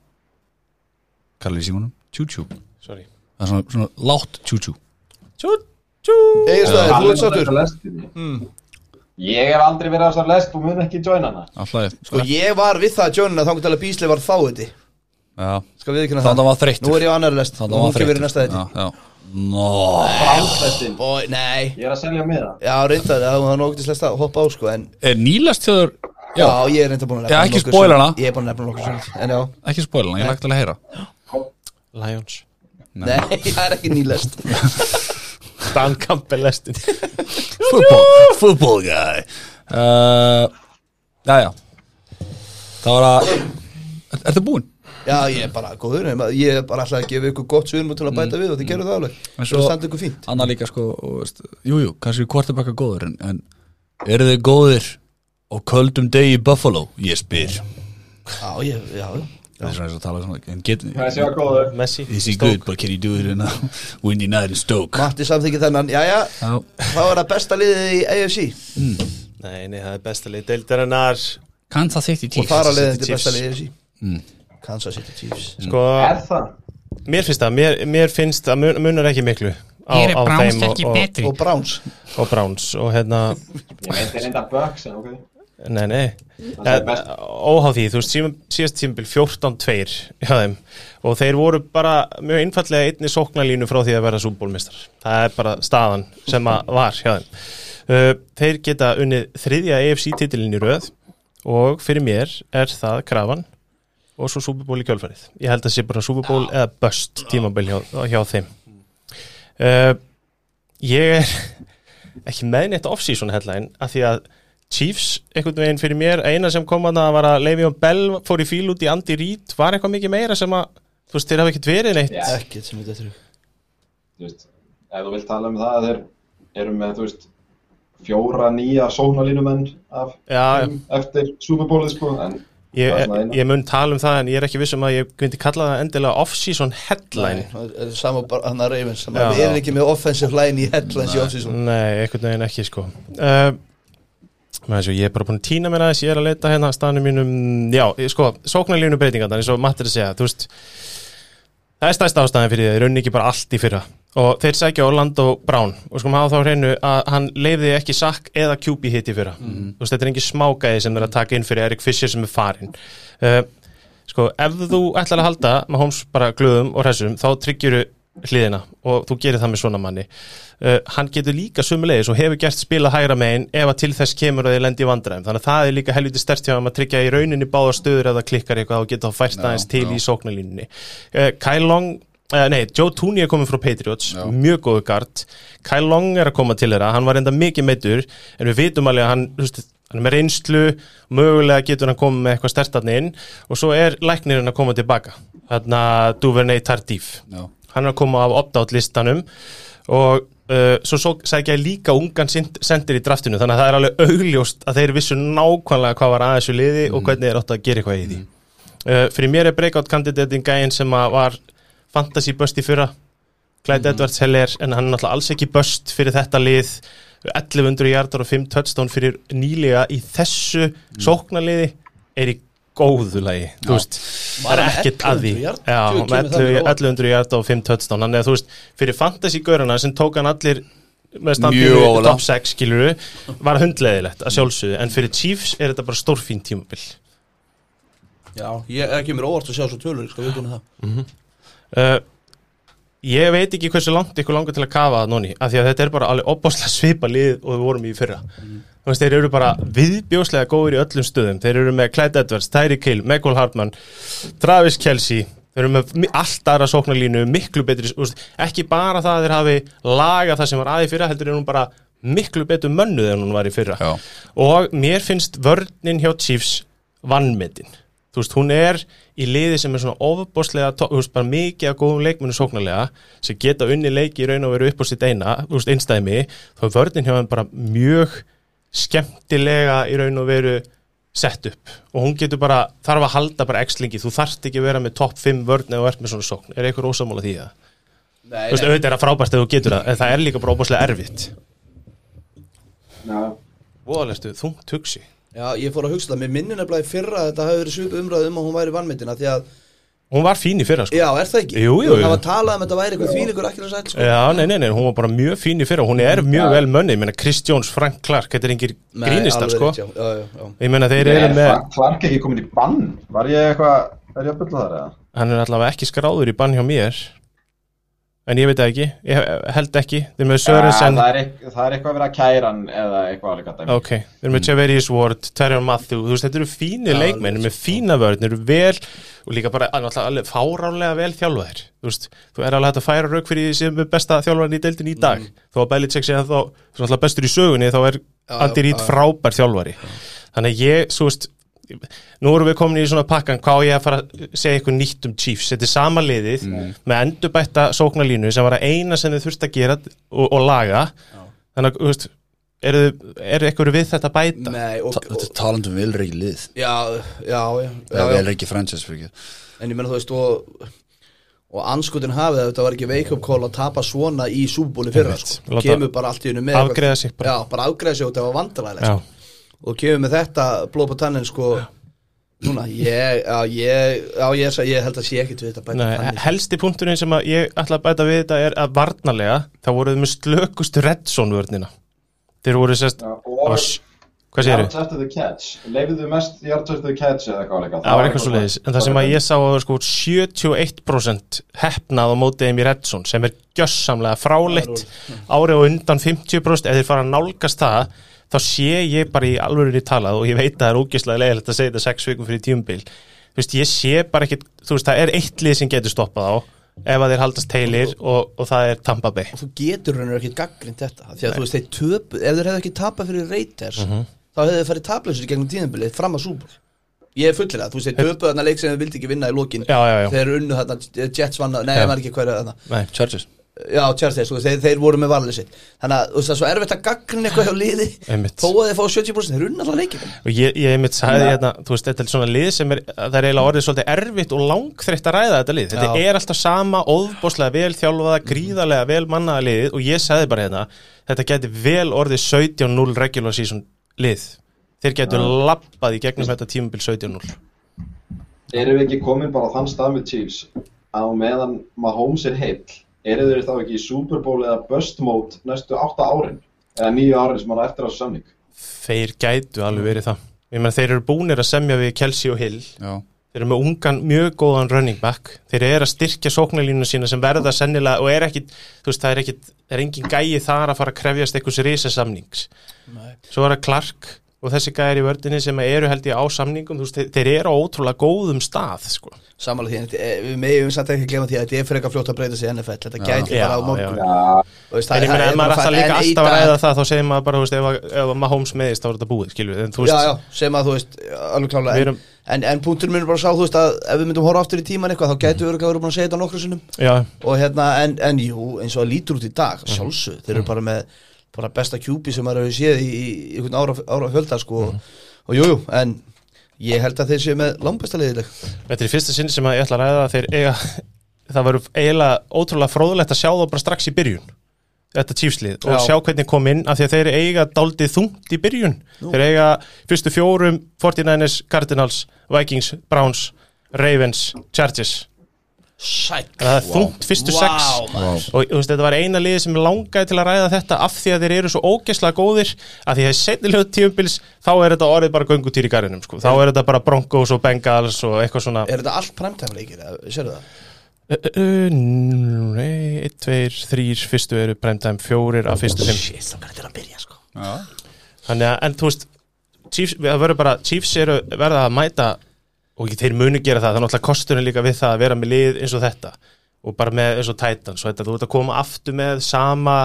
Kallar í símanum Tjú-tjú Það
sorry
er svona, svona látt tjú-tjú
tjú, tjú
Egilstaði, þú ert
Hann er
sáttur
á lestinni.
Hmm.
Ég hef aldrei verið á þessar lest og mun ekki joina hana
Alltaf
sko ég var við það að Jónina þá að Bísli var þá þetta
Já
skal við ekki
Þannig að hann var þreyttur.
nú er ég á annar lest,
Þannig að
hún
hann
kemur í
þreyttur.
næsta þetta
Já, já Nó
Bránslestin,
Bói, nei
ég er að selja miða
Já, reyndar, það var nóg til slest að hoppa á sko En
Er nýlast hjá þér
já, ég er reyndar búin að nefna
Já, ekki
nokkur
spoila
sinnum.
hana.
Ég er búin að nefna nokkur svona En já,
Ekki spóla, ég lagt alveg að heyra
Kom-
Lions
Nei, (laughs) það er ekki nýlest
Dan Campbell lestin
football, football guy uh, Jæja Það var að Er þetta búinn?
Já, ég er bara góður nema Ég er bara alltaf að gefa ykkur gott sviðnum til að bæta við og þið gerðu það alveg
En
Það standa ykkur fínt
Anna líka sko og, veist, Jú, jú, kannski kvartabakka góður en, en eru þið góðir á köldum degi í Buffalo? Ég spyr
Já, ég, já, já
Það er svona eins og að tala svona en get,
Það sé að góður
Messi
Is he good, but can he do it in a (laughs) windy night in Stoke?
Matti samþykir þennan, já, já
Já,
Þá er það besta liðið í AFC
Nei, nei, það er besta leið deildarinnar Sko,
Kansas City
Og þar að leiðin
City
til besta
Chiefs.
liðið í AFC Kansas City Chiefs
sko.
Er það?
mér finnst það Mér, mér finnst það, mun- munar ekki miklu á,
Hér er
á
Browns
þeim og,
ekki
og,
betri
Og Browns
og Browns og hérna,
Ég veit þeir enda Bucks en ok
nei, nei
Það er best.
Óhá því, þú veist, síðan- síðast tímbil 14-2 hjá þeim og þeir voru bara mjög einfallega einni sóknarlínu frá því að vera súbólmistar það er bara staðan sem að var hjá þeim Uh, Þeir geta unnið þriðja EFC-titilin í röð og fyrir mér er það krafan og svo súbúból í kjölfarið ég held að það sé bara súbúból eða böst tímabil hjá, hjá þeim uh, ég er (laughs) ekki með neitt off-season headline af því að Chiefs einhvern veginn fyrir mér, eina sem kom að það var að Le'Veon Bell fór í fíl út í Andy Reid var eitthvað mikið meira sem að þú veist, þeir hafa ekkert verið neitt
Já,
Ekkert sem þetta er
þú veist, ef þú vilt tala um það að þeir eru með, þú veist, fjóra nýja sóknarlínumenn af
Já,
eftir Superbólið, sko, en
ég,
það er svona eina.
ég mun tala um það en ég er ekki viss um að ég myndi kalla það endilega off-season headline
Það er sama bara hann að Ravens
Já.
Við erum ekki með offensive line í headlines í offseason
Nei, einhvern veginn ekki sko uh, með þessu, ég er bara búin að týna mér aðeins, ég er að leita hérna að staðnum mínum, já, ég- sko, sóknarlínu breytingarnar eins og Matt er að segja, þú veist það er stærsta ástæðan fyrir því, þeir raunni ekki bara allt í fyrra og þeir sækja Orlando Brown og sko maður hafa þá á hreinu að hann leiði ekki sakk eða QB hit í fyrra þú veist, þetta er engin smágæði sem þeir að taka inn fyrir Erik Fischer sem er farinn uh, sko, ef þú ætlar að halda Mahomes bara glöðum og hressum þá tryggjuru hliðina og þú gerir það með svona manni uh, hann getur líka sumulegis og hefur gert spilað hægra megin ef að til þess kemur að þið lendi í vandræðum þannig að það er líka helviti stert hjá um að tryggja í rauninni báða stöður ef það klikkar eitthvað og geta þá fært aðeins til í sóknarlínunni uh, Kyle Long Uh, nei, Joe Tooney er komin frá Patriots mjög góðu gard, Kyle Long er að koma til þeirra, hann var enda mikið meittur en við vitum alveg að hann, þú veist, hann er með reynslu, mögulega getur hann komið með eitthvað stertarni inn og svo er læknirinn að koma tilbaka, þarna Duvernay Tardif
Já.
hann er að koma af opt-out listanum og uh, svo, svo sækja ég líka ungan sind- sendir í draftinu þannig að það er alveg augljóst að þeir vissu nákvæmlega hvað var aðeins í liði og hvernig þeir áttu að gera eitthvað í því uh, fyrir mér er breakout kandidatin gæinn sem að var fantasy bust í fyrra Clyde Edwards Heller en hann er náttúrulega alls ekki bust fyrir þetta lið 1100 hjartar og 5 touchdown fyrir nýlega í þessu sóknarliði er í góðu lagi þú veist, það er
Bara með
ekkert að því
1100 yard?
já,
Djú, kemur
með
það mér
11
á óvart.
1100 hjarta og 5 touchdown þannig að þú veist, fyrir fantasy-görana sem tók hann allir með
Mjög
standinu
ólega.
top 6 skiluru, var hundleðilegt að sjálfsögðu, en fyrir Chiefs er þetta bara stórfín tímabil
Já, ég er ekki mér óvart að sjá svo tölur Skal við búin það
uh, ég veit ekki hversu langt ykkur langar til að kafa það núni, af því að þetta er bara alveg opbáslega svipa lið og við vorum í fyrra þú veist, þeir eru bara viðbjóslega góðir í öllum stöðum, þeir eru með Clyde Edwards Tyreek Hill, Michael Hartman Travis Kelsey, þeir eru með mi- allt aðra sóknarlínu, miklu betri þú veist, ekki bara það að þeir hafi lagað það sem var aðið fyrra, heldur er hún bara miklu betur mönnuð en hún var í fyrra
Já.
og mér finnst vörnin hjá Chiefs vannmetin þú veist, hún er í liði sem er svona ofbóðslega, þú veist, bara mikið að góðum leikmennu sóknarlega, sem geta unni leiki í raun og veru upp á sitt eina, þú veist, einstæmi þá er vörnin hjá hann bara mjög skemmtilega í raun og veru sett upp og hún getur bara, þarf að halda bara x-lingi þú þarft ekki að vera með topp 5 vörn eða þú ert með svona sókn, er eitthvað ósamála því að þú veist, auðvitað er það frábært ef þú getur það en það er líka bara óbúslega erfitt
já,
Voðalegstu, þungt hugsi
Já, ég fór að hugsa það Mér minnir nefnilega í fyrra að Þetta hafi verið svipu umræðum og hún væri vannmyndina Því að,
Hún var fín í fyrra sko
já, er það ekki?
Jú, jú, Eh, jú.
Það var talað um að þetta væri eitthvað þvílíkur akkilega sætt sko.
Já, nei, nei, nei, hún var bara mjög fín í fyrra Hún er
Mm.
mjög vel mönnið, ég meina Chris Jones, Frank Clark Þetta er engir
Nei,
grínistar
alveg
sko
rétt, já, já, já, já.
Ég meina þeir eru
er
með,
Frank Clark ekki komin í bann? Var ég eitthvað, er ég að bylla þar eða?
hann er allavega ekki skráður í bann hjá mér En ég veit það ekki, ég held ekki Þeir eru með
Ja,
Sörensen
Ah, það, er eitth- það er eitthvað að vera að kæra hann eða eitthvað alveg gæta
Ok, þeir eru með Javerius Ward, Terry Matthew Þú veist, þetta eru fínir leikmenn, þeir eru með fína vörð Þeir eru vel og líka bara alveg, alveg fáránlega vel þjálfaðir Þú veist, þú er alveg hægt að færa rauk fyrir því sem er besta þjálfaðin í deildin í dag Þó að Belichick sé að þá, sem alltaf bestur í sögunni Þá er Andy Reid frábær þjálfari Þannig að ég, svo veist Nú erum við komin í svona pakkan hvað á ég að fara að segja eitthvað nýtt um Chiefs Þetta er sama liðið með endurbætta sóknarlínu sem var að eina sem þið þurfti að gera og, og laga Þannig að, þú veist, eru, eru eitthvað við þetta að bæta?
Nei, og,
Ta- Þetta
og,
er talandum velreiki lið
já, já, já, já,
Það er
já.
velreiki franchise fyrir ekki
En ég menna þú veist og, og anskutin hafið að þetta var ekki wake-up call að tapa svona í súbúli fyrra
Einmitt.
sko.
Láta-
Kemur bara allt í hennu með eitthvað-
Afgreiða sig bara.
Já, bara afgreða sig og þetta var vandrarlega
Já,
sko. Og kemur með þetta blóð på tannin sko Núna, ég, já, ég, já, ég, ég, ég held að sé ekki við þetta bæta
Nei,
tannin
helsti punkturinn sem að ég ætla að bæta við þetta er að varnarlega þá voruð með slökustu reddsonvörnina Þeir voru sérst
Já,
á
og-
s- Hvað séru?
Yards after the catch Leifiðu mest yards after the catch eða eitthvað alveg
Það var eitthvað svo leiðis, en það sem að ég sá að það var sko 71% hefnað á mótið þeim í Redson sem er gjössamlega fráleitt árið og undan 50% ef þeir fara að nálgast það þá sé ég bara í alvörunni talað og ég veit að það er ógislega leiðilegt að segja þetta 6 vikum fyrir tíumbil þú veist, ég sé bara ekkit, þú veist, það er eitt lið sem getur stoppað á ef að þeir haldast teilir og, og það er Tampa Bay
Þú getur hennar ekkit gaggrind þetta af Því að þú veist, þeir töpu, ef þeir hefðu ekki tapað fyrir Reiters
Mhm.
Þá hefðu þeir farið taplausir í gegnum tíðanbilið fram að súbúl Ég er fullir að, þú veist, þeir töpu þarna leik sem þeir vildi ekki vinna í lokin
Já, já, já.
Þeir unnu þarna, Jets vanna, nei,
Já.
ég maður ekki hverja þarna
Nei,
Chargers
Já, Chargers, þú veist, þeir, þeir voru með valið sitt Þannig að þú veist, það er svo erfitt að gaggrinna eitthvað hjá liði
Einmitt.
Þó að þeir fá 70% þeir unna allan leikin
og ég, ég einmitt sagði
Nei.
hérna, þú veist, þetta er svona lið sem er, það er eiginlega orðið svolítið erfitt og langþreytt að ræða þetta lið, þetta
Já.
er alltaf sama óðbóslega vel þjálfaða, gríðarlega vel mannaða liðið og ég sagði bara hérna þetta geti vel orðið 17-0 regular season lið, þeir getur lappað í gegnum þetta tímabil 17-0
Erum við ekki komin bara á þann stað með Chiefs að á meðan Mahomes er heill eru þeir þá ekki í Super Bowl eða Bust Mode næstu 8 árin eða 9 árin sem hann á eftir á þessu samning
þeir gætu alveg verið það ég menn þeir eru búnir að semja við Kelsey og Hill
Já
Þeir eru með ungan, mjög góðan running back Þeir eru að styrkja sóknarlínu sína sem verða sennilega og er ekki, þú veist, það er ekki það er engin gæi þar að fara að krefjast einhvers risasamnings
Nei.
Svo er það Clark og þessi gæri í vördinni sem eru held ég á samningum, þú veist, þeir, þeir eru á ótrúlega góðum stað, sko
Samanlega því, en þetta er- við meðjum samt ekki að glemma því að þetta er frekar fljótt að breyta sig í NFL Þetta gæti
Já,
bara á
já,
morgun
já.
Já,
Þú veist,
En ég meina, ef maður
bara
er alltaf
farin
líka
enn í
alltaf að
dag.
ræða það, þá segir maður bara, þú veist, ef, að- ef að Mahomes meðist, þá er þetta búið, skilur við, en þú
já,
veist
já, sem að þú veist, alveg klálega
Við erum-
en, en, en punkturinn minn er bara sá, þú veist, að ef við myndum horfa aftur í tíman eitthvað, þá gætu við örgulega verið búin að segja þetta nokkru sinnum
já,
og hérna, en, en jú, eins og það lítur út í
Mhm.
dag sjálfsög, þeir eru bara með bara besta kjúpi sem maður hefur séð í, í, í einhvern ára, ára fjölda, sko
Mhm.
og jújú, jú, en ég held að þeir séu með langbesta leiðileg
Þetta er í fyrsta sinni sem að ég ætla að ræða að þeir eiga það verður eiginlega ótrúlega fróðulegt að sjá þá bara strax í byrjun þetta tífslið og
Já.
sjá hvernig kom inn af því að þeir eiga daldið þungt í byrjun þeir eiga fyrstu fjórum 49ers, Cardinals, Vikings, Browns Ravens, Chargers
Sæk
það er þungt fyrstu sex
maður.
og þú veist, þetta var eina liði sem langaði til að ræða þetta af því að þeir eru svo ógesla góðir af því að setnilegu tíumbils þá er þetta orðið bara göngutýr í garðinum sko. þá er þetta bara Broncos og Bengals og eitthvað svona
Er þetta allt primetime leikir, eða- sérðu það?
Uh, uh, Nei, einn, tveir, þrýr Fyrstu eru primetime, fjórir af fyrstu fimm
Shit, þá kannar þetta er að byrja, sko
Já
Þannig að, en þú veist Chiefs, það verður bara, Chiefs eru verða að mæta og ekki þeir munu gera það, það er náttúrulega kosturinn líka við það að vera með lið eins og þetta og bara með eins og Titans og þetta, þú ert að koma aftur með sama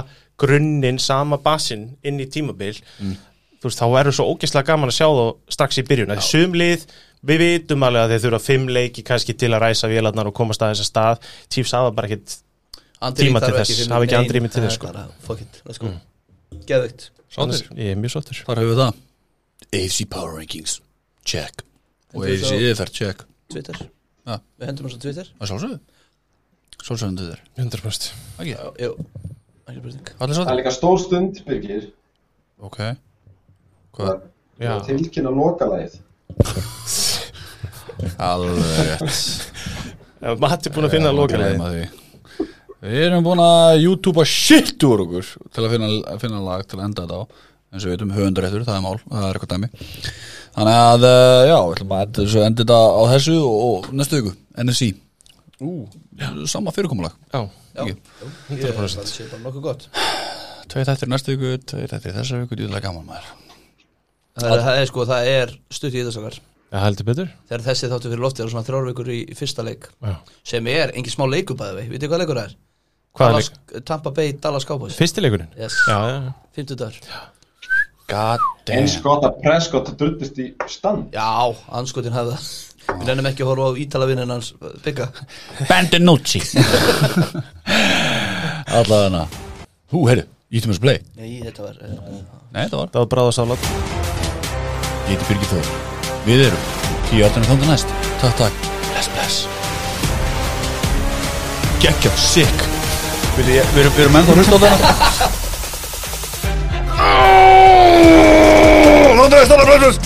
grunnin, sama basinn inn í tímabil þú veist, þá eru svo ógeðslega gaman að sjá þá strax í byrjun, að sum lið við vitum alveg að þeir þurfa fimm leiki kannski til að ræsa vélarnar og komast að þessa stað Chiefs hafa bara ekkit
Andri
Tíma til
þarf
þess,
fimm
hafa ekki
nein,
andrými til
það
þess,
er
sko. Mm.
bara, Fuck it, let's go Geðveikt.
Sáttir
Ég er mjög sáttur
Þar hefur við það AFC Power Rankings Check Og
Þetta er
AFC
svo-
yfirferð Check
Twitter
Já.
Við hendum þessu á Twitter
Það sjálfsögðu Sjálfsögðu þetta þér
100%
Ekki
Jú, ekki spurning
Allir
það er
sáttir
líka stór stund, Birgir
Ok Hvað?
Já.
tilkynna lokalægið
Alveg (laughs) rétt
Matti búin að finna að loka leið
Gleyma því. Við erum búin að YouTube að shit úr okkur til að finna, að finna lag til að enda þetta á eins og við veitum höfundaréttur, það er mál, það er eitthvað dæmi Þannig að, eh, já, við ætlum að enda þessu- enda þetta á þessu og og næstu viku, NSC
Ú,
sama fyrirkomulag
já,
Ekki?
100%
Það sé bara nokkuð gott
Tveir þættir næstu viku, tveir þættir þessa viku Djúðlega gaman maður
Það er, það er sko, það er stutt í þetta sakar
Það heldur betur
Þegar þessi þáttu fyrir loftið er svona þrjár vikur í fyrsta leik
já.
sem er engin smá leikubæði við, vitið hvað leikur það er?
Hvað er
Dallas,
leik?
Tampa Bay, Dallas Cowboys
Fyrsti leikurinn?
yes.
Já, já, já.
50 dagar
God
eins
damn
gott að Prescott drullist í stand
Já, anskotin hafði það Við nefnum ekki að horfa á ítalavinnin hans uh, Bigga
Bandinucci (laughs) Allavega Hú, heyrðu, ítum þessu play
Nei, þetta var uh,
Nei, það var
Það var bráða sálat
Ég heiti Birgir Þór Við erum Tíu áttunum þóndan næst Takk, takk Bless, bless Gekkja, sick Við ég- við erum, við erum ennþá að hlusta á þetta Nóttu veist, nóttu veist